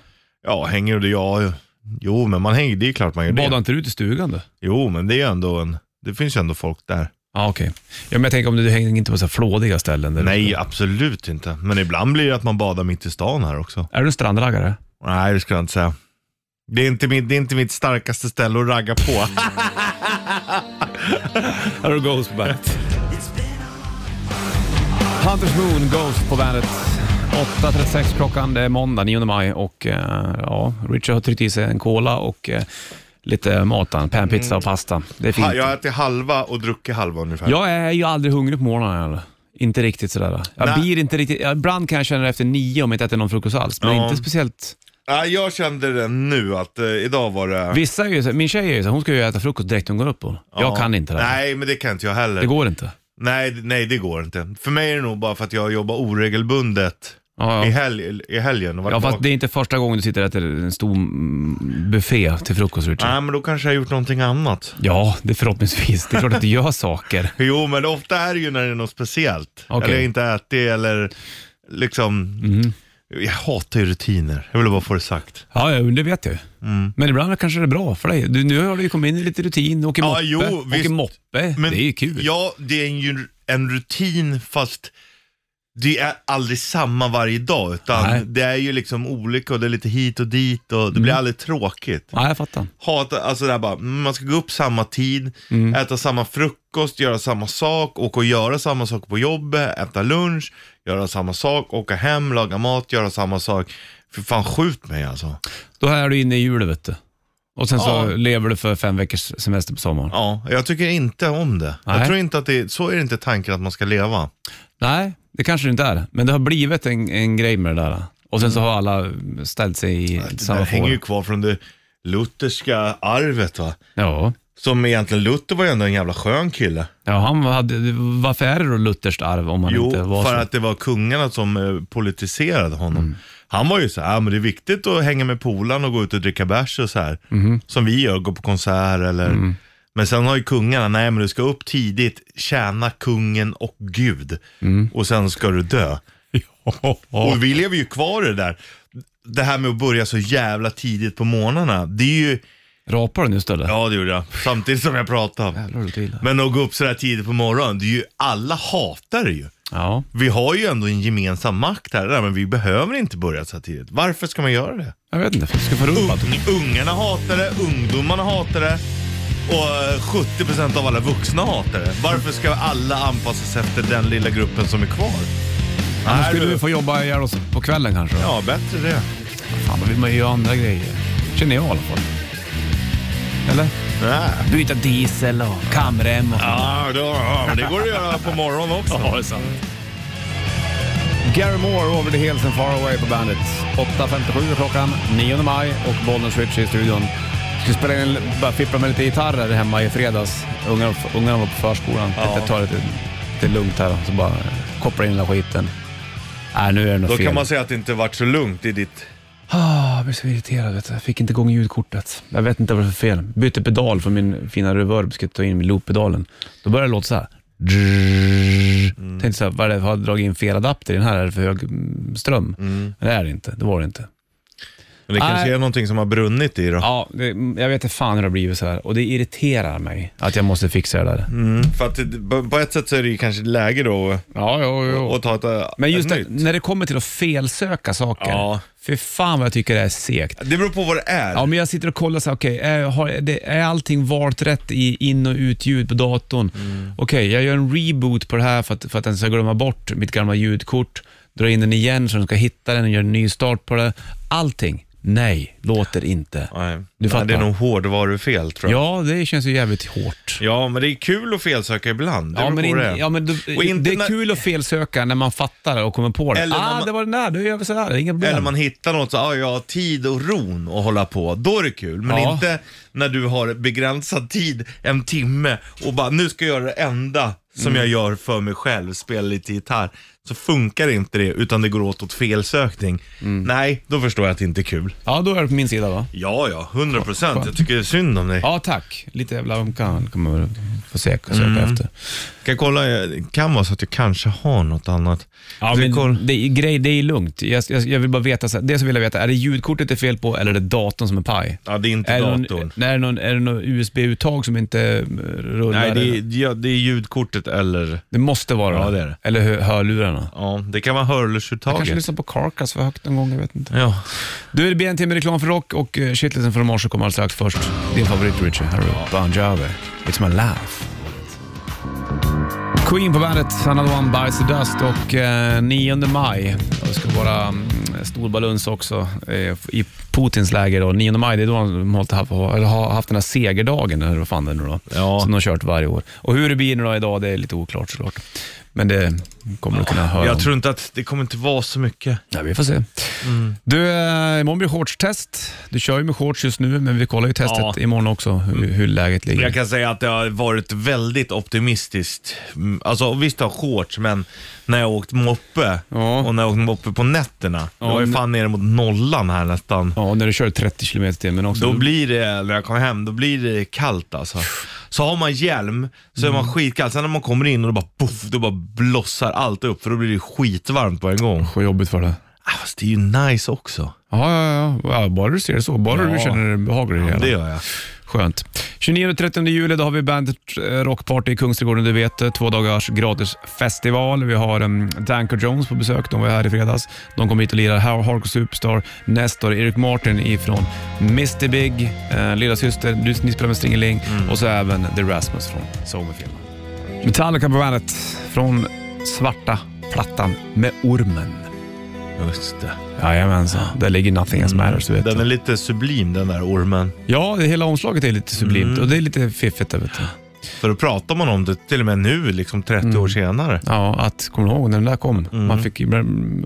S3: Ja, hänger du? Ja, jo, men man hänger, det är klart man gör
S2: Badar
S3: det.
S2: inte du ut i stugan då?
S3: Jo, men det är ändå en, det finns ju ändå folk där.
S2: Ja, okej. Ja, men jag tänker om du hänger inte på så här flådiga ställen. Där
S3: Nej, absolut inte. Men ibland blir det att man badar mitt i stan här också.
S2: Är du en strandraggare?
S3: Nej, det skulle jag inte säga. Det är inte, min, det är inte mitt starkaste ställe att ragga på.
S2: Här har du Ghost på bandet. Hunters Moon, Ghost på bandet. 8.36 klockan, det är måndag 9 maj och eh, ja, Richard har tryckt i sig en cola och eh, lite mat, han. panpizza och pasta. Det är fint.
S3: Mm. Ha- Jag äter halva och druckit halva ungefär.
S2: Jag är ju aldrig hungrig på morgonen heller. Inte riktigt sådär. Jag
S3: Nej.
S2: blir inte riktigt, ja, ibland kan jag känna det efter nio om jag inte äter någon frukost alls. Men
S3: Ja.
S2: inte speciellt.
S3: Ja, jag kände det nu att eh, idag var det...
S2: Vissa är ju så, min tjej är ju så, hon ska ju äta frukost direkt när hon går upp. Och. Jag
S3: Ja.
S2: kan inte det. här.
S3: Nej, men det kan inte jag heller.
S2: Det går inte.
S3: Nej, d- nej, det går inte. För mig är det nog bara för att jag jobbar oregelbundet
S2: Ja,
S3: I,
S2: ja.
S3: helg, i helgen. Och varit
S2: ja, fast
S3: bak-
S2: det är inte första gången du sitter och äter en stor mm, buffé till frukost, Richard.
S3: Nej, men då kanske jag har gjort någonting annat.
S2: Ja, det är förhoppningsvis. Det är klart att du gör saker.
S3: Jo, men ofta är det ju när det är något speciellt.
S2: Okej. Mhm.
S3: Eller jag inte ätit eller liksom... Jag hatar ju rutiner. Jag vill bara få det sagt.
S2: Ja, ja, det vet jag ju.
S3: Mm.
S2: Men ibland kanske det är bra för dig. Du, nu har du ju kommit in i lite rutin, åker
S3: Ja,
S2: moppe.
S3: jo,
S2: åker
S3: visst.
S2: moppe. det är ju kul.
S3: Ja, det är ju en rutin fast det är aldrig samma varje dag utan
S2: Nej. Mm.
S3: det är ju liksom olika och det är lite hit och dit och det blir aldrig tråkigt.
S2: Ja, jag fattar.
S3: Hata, alltså det här bara, mm, man ska gå upp samma tid,
S2: Mm.
S3: äta samma frukost, göra samma sak, åka och göra samma sak på jobbet, äta lunch, göra samma sak, åka hem, laga mat, göra samma sak. För fan skjut mig alltså.
S2: Då är du inne i julen vet du. Och sen så
S3: Ja.
S2: lever du för fem veckors semester på sommaren.
S3: Ja, jag tycker inte om det.
S2: Nej.
S3: Jag tror inte att det, så är det inte tanken att man ska leva.
S2: Nej, det kanske det inte är. Men det har blivit en, en grej med det där. Och sen så har alla ställt sig i
S3: Mm. Det
S2: samma
S3: där hänger ju
S2: fåra.
S3: kvar från det lutherska arvet va.
S2: Ja.
S3: Som egentligen, Luther var ju ändå en jävla skön kille.
S2: ja, han hade, varför är det då Luthers arv om han
S3: jo,
S2: inte var
S3: för
S2: så? Mm.
S3: att det var kungarna som eh, politiserade honom. Han var ju så här, "Ah, men det är viktigt att hänga med polaren och gå ut och dricka bärs och så här.
S2: Mm-hmm.
S3: Som vi gör, gå på konsert eller.
S2: Mm.
S3: Men sen har ju kungarna, nej men du ska upp tidigt, tjäna kungen och Gud.
S2: Mm.
S3: Och sen ska du dö. Och vi lever ju kvar i det där. Det här med att börja så jävla tidigt på morgnarna, det är ju,
S2: Rapar du nu istället?
S3: ja det gjorde jag, samtidigt som jag pratade.
S2: Jävlar, du tar illa.
S3: Men att gå upp så här tidigt på morgonen, det är ju, alla hatar det ju.
S2: Ja.
S3: Vi har ju ändå en gemensam makt här, där, men vi behöver inte börja så här tidigt. Varför ska man göra det?
S2: Jag vet inte, för du ska få rumpa.
S3: Ung, ungarna hatar det, ungdomarna hatar det och eh, 70% av alla vuxna hatar det. Varför ska alla anpassa sig efter den lilla gruppen som är kvar?
S2: Annars skulle
S3: du-
S2: vi få jobba ihjäl oss på kvällen kanske.
S3: Ja, bättre det.
S2: Fan, då vill man ju göra andra grejer. Känner jag i alla fall. Eller?
S3: Nej.
S2: Byta diesel och kamrem och...
S3: Ja, då, ja, men det går att göra på morgonen också.
S2: Ja, det är sant. Gary Moore, Over the Hills and Far Away på bandet. 8.57 är klockan, 9 maj och Bollnäs Rich i studion. Skulle spela in, bara fippla med lite gitarrer hemma i fredags. Ungarna, ungarna var på förskolan. Jag tar det lite, lite lugnt här så bara koppla in hela skiten. Nej, nu är det något
S3: Då
S2: fel.
S3: kan man säga att det inte varit så lugnt i ditt...
S2: Ah, jag blev så irriterad. Vet du. Jag fick inte igång ljudkortet. Jag vet inte vad det var för fel. Bytte pedal för min fina reverb. Ska ta in loop-pedalen. Då började det låta så här. Mm. Tänkte så här, vad är det, har jag dragit in fel adapter i den här? Är det för hög mm, ström? Men det är det inte. Det var det inte.
S3: Men det kanske
S2: Nej.
S3: är någonting som har brunnit i då.
S2: Ja, det, jag vet inte fan hur det har blivit så här och det irriterar mig att jag måste fixa det där.
S3: För att det- på- på ett sätt så är det ju kanske läge då
S2: Ja, jo, jo.
S3: att ta ett, eh,
S2: Men just
S3: ett
S2: det,
S3: nytt.
S2: när det kommer till att felsöka saker.
S3: Ja.
S2: Fy fan vad jag tycker det är segt.
S3: Det beror på vad det är.
S2: Ja, men jag sitter och kollar så här, okej, är, har, det, är allting valt rätt i in och utljud på datorn?
S3: Mm.
S2: Okej, jag gör en reboot på det här för att, för att den ska glömma bort mitt gamla ljudkort, dra in den igen så den ska hitta den och göra en ny start på det. Allting. Nej, låter inte.
S3: Nej.
S2: Du fattar.
S3: Nej, det är nog hårdvarufel tror jag.
S2: Ja, det känns ju jävligt hårt.
S3: Ja, men det är kul att felsöka ibland. Det
S2: Ja
S3: beror
S2: men,
S3: på
S2: in,
S3: vad det är.
S2: ja, men då,
S3: Och inte
S2: det är
S3: när-
S2: kul att felsöka när man fattar och kommer på det.
S3: Eller när
S2: ah,
S3: man-
S2: det var den där, då gör vi sådär, inga problem.
S3: Eller man hittar något så ah, jag har tid och ron att hålla på. Då är det kul. Men
S2: Ja.
S3: inte när du har begränsad tid, en timme och bara nu ska jag göra det enda som
S2: Mm.
S3: jag gör för mig själv, spela lite gitarr. Så funkar inte det utan det går åt åt felsökning.
S2: Mm.
S3: Nej, då förstår jag att det inte är kul.
S2: Ja, då är det på min sida då.
S3: Ja, ja, 100 procent. Jag tycker det är synd om dig.
S2: Ja, tack. Lite jävla omkan kan man väl få se- söka
S3: Mm.
S2: efter.
S3: Kan jag kolla, det kan vara så att jag kanske har något annat.
S2: Ja,
S3: Ska jag Alltså, kolla?
S2: men det, är- grej, det är lugnt. Jag, jag, jag vill bara veta, så här, det som vill jag veta, är det ljudkortet det är fel på eller är det datorn som är paj?
S3: ja det är inte
S2: Är det, någon,
S3: datorn.
S2: nej, är det någon, är det någon USB-uttag som inte eh, rullar?
S3: Nej, det är,
S2: eller?
S3: ja, det är ljudkortet eller,
S2: det måste vara
S3: Ja, det är det.
S2: Eller hö- hörlurarna.
S3: ja, det kan vara
S2: Jag kanske
S3: hörlursuttaget.
S2: lyssnar på Carcass för högt någon gång, jag vet inte.
S3: Ja.
S2: Du, det blir en timme reklam för rock och eh, shitlisten från morse kommer alldeles strax först. Din favorit Richie, här är Bon Jovi. It's my life. Queen på bandet, Another One Bites the Dust och eh, 9 maj. Och Det ska vara mm, stor baluns också eh, i Putins läger. Då. 9 maj, det är då de har haft, eller har haft den här segerdagen, eller vad fan det är nu då,
S3: Ja.
S2: som de har kört varje år. Och hur det blir nu då idag, det är lite oklart såklart. Men det kommer du kunna höra om.
S3: Jag tror inte att det kommer inte vara så mycket.
S2: Ja, vi får se.
S3: Mm.
S2: Du, eh, imorgon blir shortstest. Du kör ju med shorts just nu, men vi kollar ju testet
S3: Ja. Mm.
S2: imorgon också, hur, hur läget ligger.
S3: Jag kan säga att det har varit väldigt optimistiskt. Mm, Alltså visst har jag shorts, men när jag har åkt moppe
S2: Ja.
S3: och när jag har åkt moppe på nätterna.
S2: Ja,
S3: jag var ju
S2: men-
S3: fan nere mot nollan här nästan.
S2: Ja, och när du kör 30 km i timmen också.
S3: Då blir det, när jag kommer hem, då blir det kallt alltså. Så har man hjälm så är man skitkall. Sen när man kommer in och då bara poff, då bara blossar allt upp för då blir det skitvarmt på en gång.
S2: Vad jobbigt för det.
S3: Ah, fast det är ju nice också.
S2: Ja, ja, ja, ja. Bara du ser det så. Bara du
S3: Ja.
S2: känner dig behaglig i det hela.
S3: Det gör jag.
S2: Skönt. 29 och 30 juli då har vi Bandet eh, Rockparty i Kungsträdgården, du vet. det. Två dagars gratis festival. Vi har um, Danko Jones på besök, de var här i fredags. De kommer hit och lirar Har- Hardcore Superstar. Nästa år Eric Martin ifrån Mr Big, eh, lillasyster, du, ni spelar med Stringeling
S3: Mm.
S2: och så även The Rasmus från Sommerfilm. Metallica på bandet från svarta plattan med ormen.
S3: Just det.
S2: Jajamensan, där ligger Nothing Else Matters, du vet.
S3: Mm. Den är lite sublim den där ormen.
S2: Ja, det, hela omslaget är lite sublimt
S3: Mm.
S2: och det är lite fiffigt där, vet du.
S3: För då pratar man om det till och med nu, liksom 30 år senare.
S2: Ja, att, kommer du ihåg när den där kom? Man
S3: Mm.
S2: fick, ju-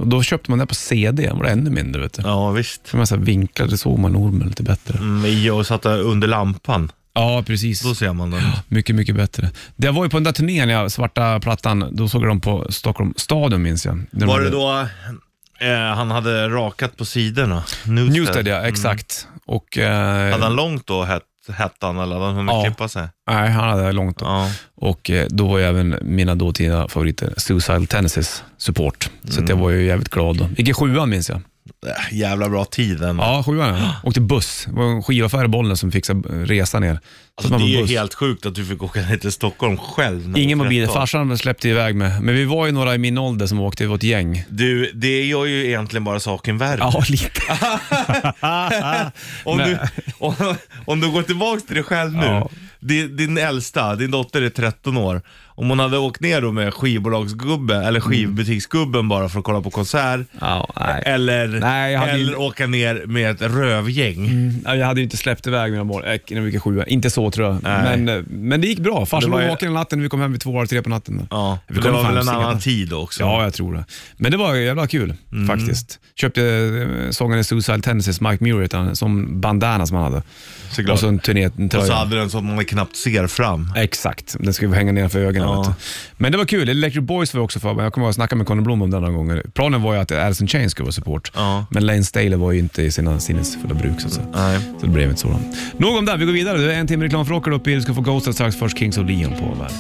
S2: och då köpte man den på CD, den var det ännu mindre. Vet du.
S3: Ja, visst.
S2: För man så här vinklade såg man ormen lite bättre.
S3: Mm, I och satt under lampan.
S2: Ja, precis.
S3: Då ser man den.
S2: Mycket, mycket bättre. Det var ju på den där turnén, ja, Svarta Plattan, då såg jag dem på Stockholm Stadion minns jag. När de
S3: Var det
S2: hade-
S3: då eh, han hade rakat på sidorna? Newstead.
S2: Newstead ja, exakt. Och, eh,
S3: Mm. Hade han långt då, het- hettan, eller hade han hunnit
S2: Ja.
S3: klippa sig?
S2: Nej, han hade långt.
S3: Ja.
S2: Och eh, då var ju även mina dåtida favoriter Suicidal Tendencies support. Så att jag
S3: Mm.
S2: var ju jävligt glad då. Gick i sjuan minns jag.
S3: Äh, Jävla bra tid den.
S2: Ja, alltså sjuan ja. Åkte buss. Det var en skivaffär i Bollnäs som fixade eh, resa ner. Så att
S3: Alltså,
S2: man
S3: det
S2: var
S3: är ju
S2: buss.
S3: helt sjukt att du fick åka ner till Stockholm själv. när du
S2: Ingen
S3: var
S2: mobil.
S3: 13.
S2: Farsan släppte iväg mig. Men vi var ju några i min ålder som åkte. Vi var ett gäng.
S3: Du, det gör ju egentligen bara saken värre.
S2: lite.
S3: Om
S2: Nej.
S3: du, om, om du går tillbaka till dig själv nu.
S2: Ja.
S3: Din, din äldsta, din dotter är 13 år. Om hon hade åkt ner då med skivbolagsgubben, eller skivbutiksgubben bara för att kolla på konsert.
S2: Mm. Ja, nej.
S3: Eller,
S2: Nej, jag hade ju- Mm.
S3: eller åka ner med ett rövgäng.
S2: Ja, Jag hade ju inte släppt iväg mina mål äh, när vi gick i sjuan. Inte så tror jag. Men, eh, men det gick bra. Farsan
S3: Det var
S2: var
S3: ju-
S2: vaken hela natten. Vi kom hem vid två, halv tre på natten.
S3: Ja,
S2: vi
S3: för det
S2: kom
S3: var
S2: fan
S3: väl en
S2: sent.
S3: annan tid Mm. också.
S2: Ja, jag tror det. Men det var jävla kul faktiskt. Köpte eh, sångaren i Suicide Tendencies, Mike Muir, heter han, som bandana som han hade.
S3: Såklart.
S2: Och så en turné, en
S3: Och så
S2: tröja.
S3: hade den så att man knappt ser fram.
S2: Exakt, den skulle hänga nedanför ögonen.
S3: Ja.
S2: Vet du. Men det var kul, Electric Boys var också för mig. Jag kommer ihåg att snacka med Conny Blom om det några gånger. Planen var ju att Alice in Chains skulle vara support,
S3: Ja.
S2: men Lane Staley var ju inte i sina sinnesfulla bruk så att säga.
S3: Nej.
S2: Så det blev inte så. då. Nog om det, vi går vidare. Det är en timme reklam för Rockar upp i. Du ska få Ghosted strax, först Kings of Leon på bandet.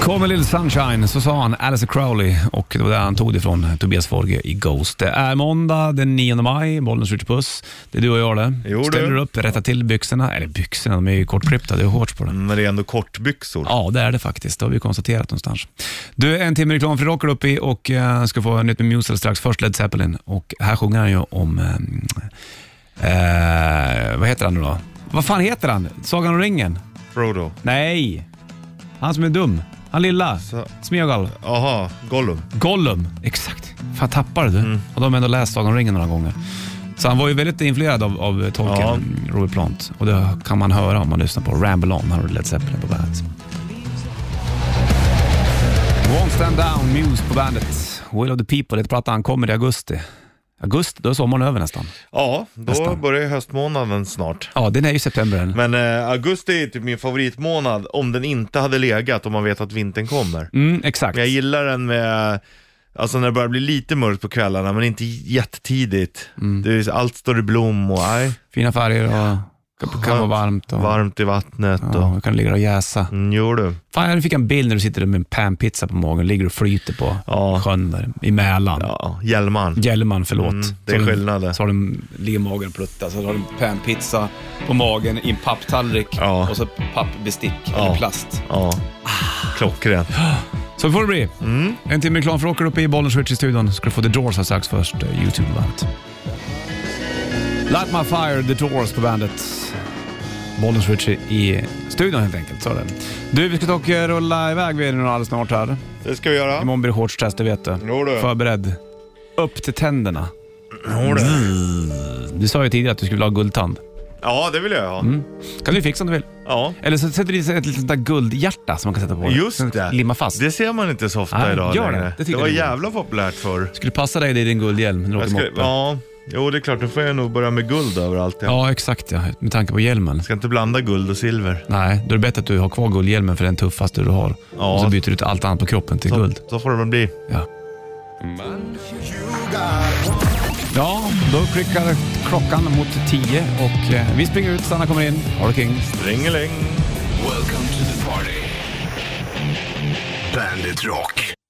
S2: Come a little sunshine, så sa han Alice Crowley och det var där han tog det ifrån, Tobias Forge i Ghost. Det är måndag den 9 maj, Bollnäs Ritchie Puss. Det är du och jag det.
S3: Jo,
S2: Ställer
S3: du.
S2: du upp, rätta till byxorna. Eller byxorna, de är ju kortklippta, det är shorts på det.
S3: Men det är ändå kortbyxor.
S2: Ja, det är det faktiskt. Det har vi konstaterat någonstans. Du, en timme reklamfri rock är uppe i och eh, ska få nytt med Musel strax. Först Led Zeppelin och här sjunger han ju om... Eh, eh, vad heter han nu då? Vad fan heter han? Sagan om ringen?
S3: Frodo.
S2: Nej! Han som är dum. Han lilla.
S3: Så-
S2: Smeagol.
S3: Aha, Gollum.
S2: Gollum. Exakt. Fan, tappar du.
S3: Mm.
S2: Och de har ändå läst Sagan om ringen några gånger. Så han var ju väldigt influerad av, av Tolkien,
S3: Ja.
S2: Robert Plant. Och det kan man höra om man lyssnar på Ramble On. Här har du Led Zeppelin på bandet. Won't Stand Down, Muse på bandet. Will of the People, det plattan han kommer i augusti. Augusti, då är sommaren över nästan.
S3: Ja, då
S2: Nästan.
S3: börjar höstmånaden snart.
S2: Ja, den är ju september än.
S3: Men eh, augusti är typ min favoritmånad om den inte hade legat och man vet att vintern kommer.
S2: Mm, exakt.
S3: Men jag gillar den med, alltså när det börjar bli lite mörkt på kvällarna men inte jättetidigt.
S2: Mm.
S3: Det är, allt står i blom och aj,
S2: Fina färger och kan, kan vara varmt. Och,
S3: varmt i vattnet
S2: Ja,
S3: och,
S2: kan ligga och jäsa.
S3: mm, jo du.
S2: Fan, jag fick en bild när du sitter där med en panpizza på magen, ligger och flyter på
S3: Ja.
S2: sjön där, i Mälaren.
S3: Ja, Hjälmaren.
S2: Hjälman, förlåt.
S3: Mm, det är
S2: Så har du-
S3: skillnaden.
S2: Så har du ligger magen och pluttar, så har du en panpizza på magen i en papptallrik
S3: Ja.
S2: och så pappbestick
S3: Ja.
S2: eller plast.
S3: Ja, klockrent.
S2: Så får det bli.
S3: Mm.
S2: En timme reklam för åker uppe i Bollnäs Ritchie i studion. Ska du få The Doors här strax först, eh, youtube bandet. Light My Fire, The Doors på bandet. Bollnäs Ritchie i studion helt enkelt. Så är det. Du, vi ska dock eh, rulla iväg vi är nu alldeles snart här.
S3: Det ska vi göra.
S2: Imorgon blir det shortstest, det vet du.
S3: Jo du.
S2: Förberedd. Upp till tänderna. Mm. Du sa ju tidigare att du skulle vilja ha guldtand.
S3: Ja, det vill jag ha.
S2: Mm. kan du fixa om du vill.
S3: Ja.
S2: Eller så sätter du i sig ett litet sånt där guldhjärta som man kan sätta på. Sen
S3: Just det.
S2: Limma fast. Det
S3: Det ser man inte så ofta
S2: Nej,
S3: idag
S2: gör det.
S3: längre.
S2: Det
S3: Det,
S2: tycker
S3: var
S2: jag är bra.
S3: jävla populärt förr.
S2: skulle passa dig i din guldhjälm när du åker
S3: Jag ska,
S2: moppe.
S3: ja, jo det är klart. Nu får jag nog börja med guld överallt. Jag
S2: ja, exakt ja. Med tanke på hjälmen.
S3: ska inte blanda guld och silver.
S2: Nej, då är det bättre att du har kvar guldhjälmen för den tuffaste du har.
S3: Ja.
S2: Och så byter du ut allt annat på kroppen till
S3: Så,
S2: guld.
S3: så får det väl bli.
S2: Ja. Ja, då klickar klockan mot tio och eh, vi springer ut, Sanna kommer in. Ha det king.
S3: Ringeling.
S1: Welcome to the party. Bandit Rock.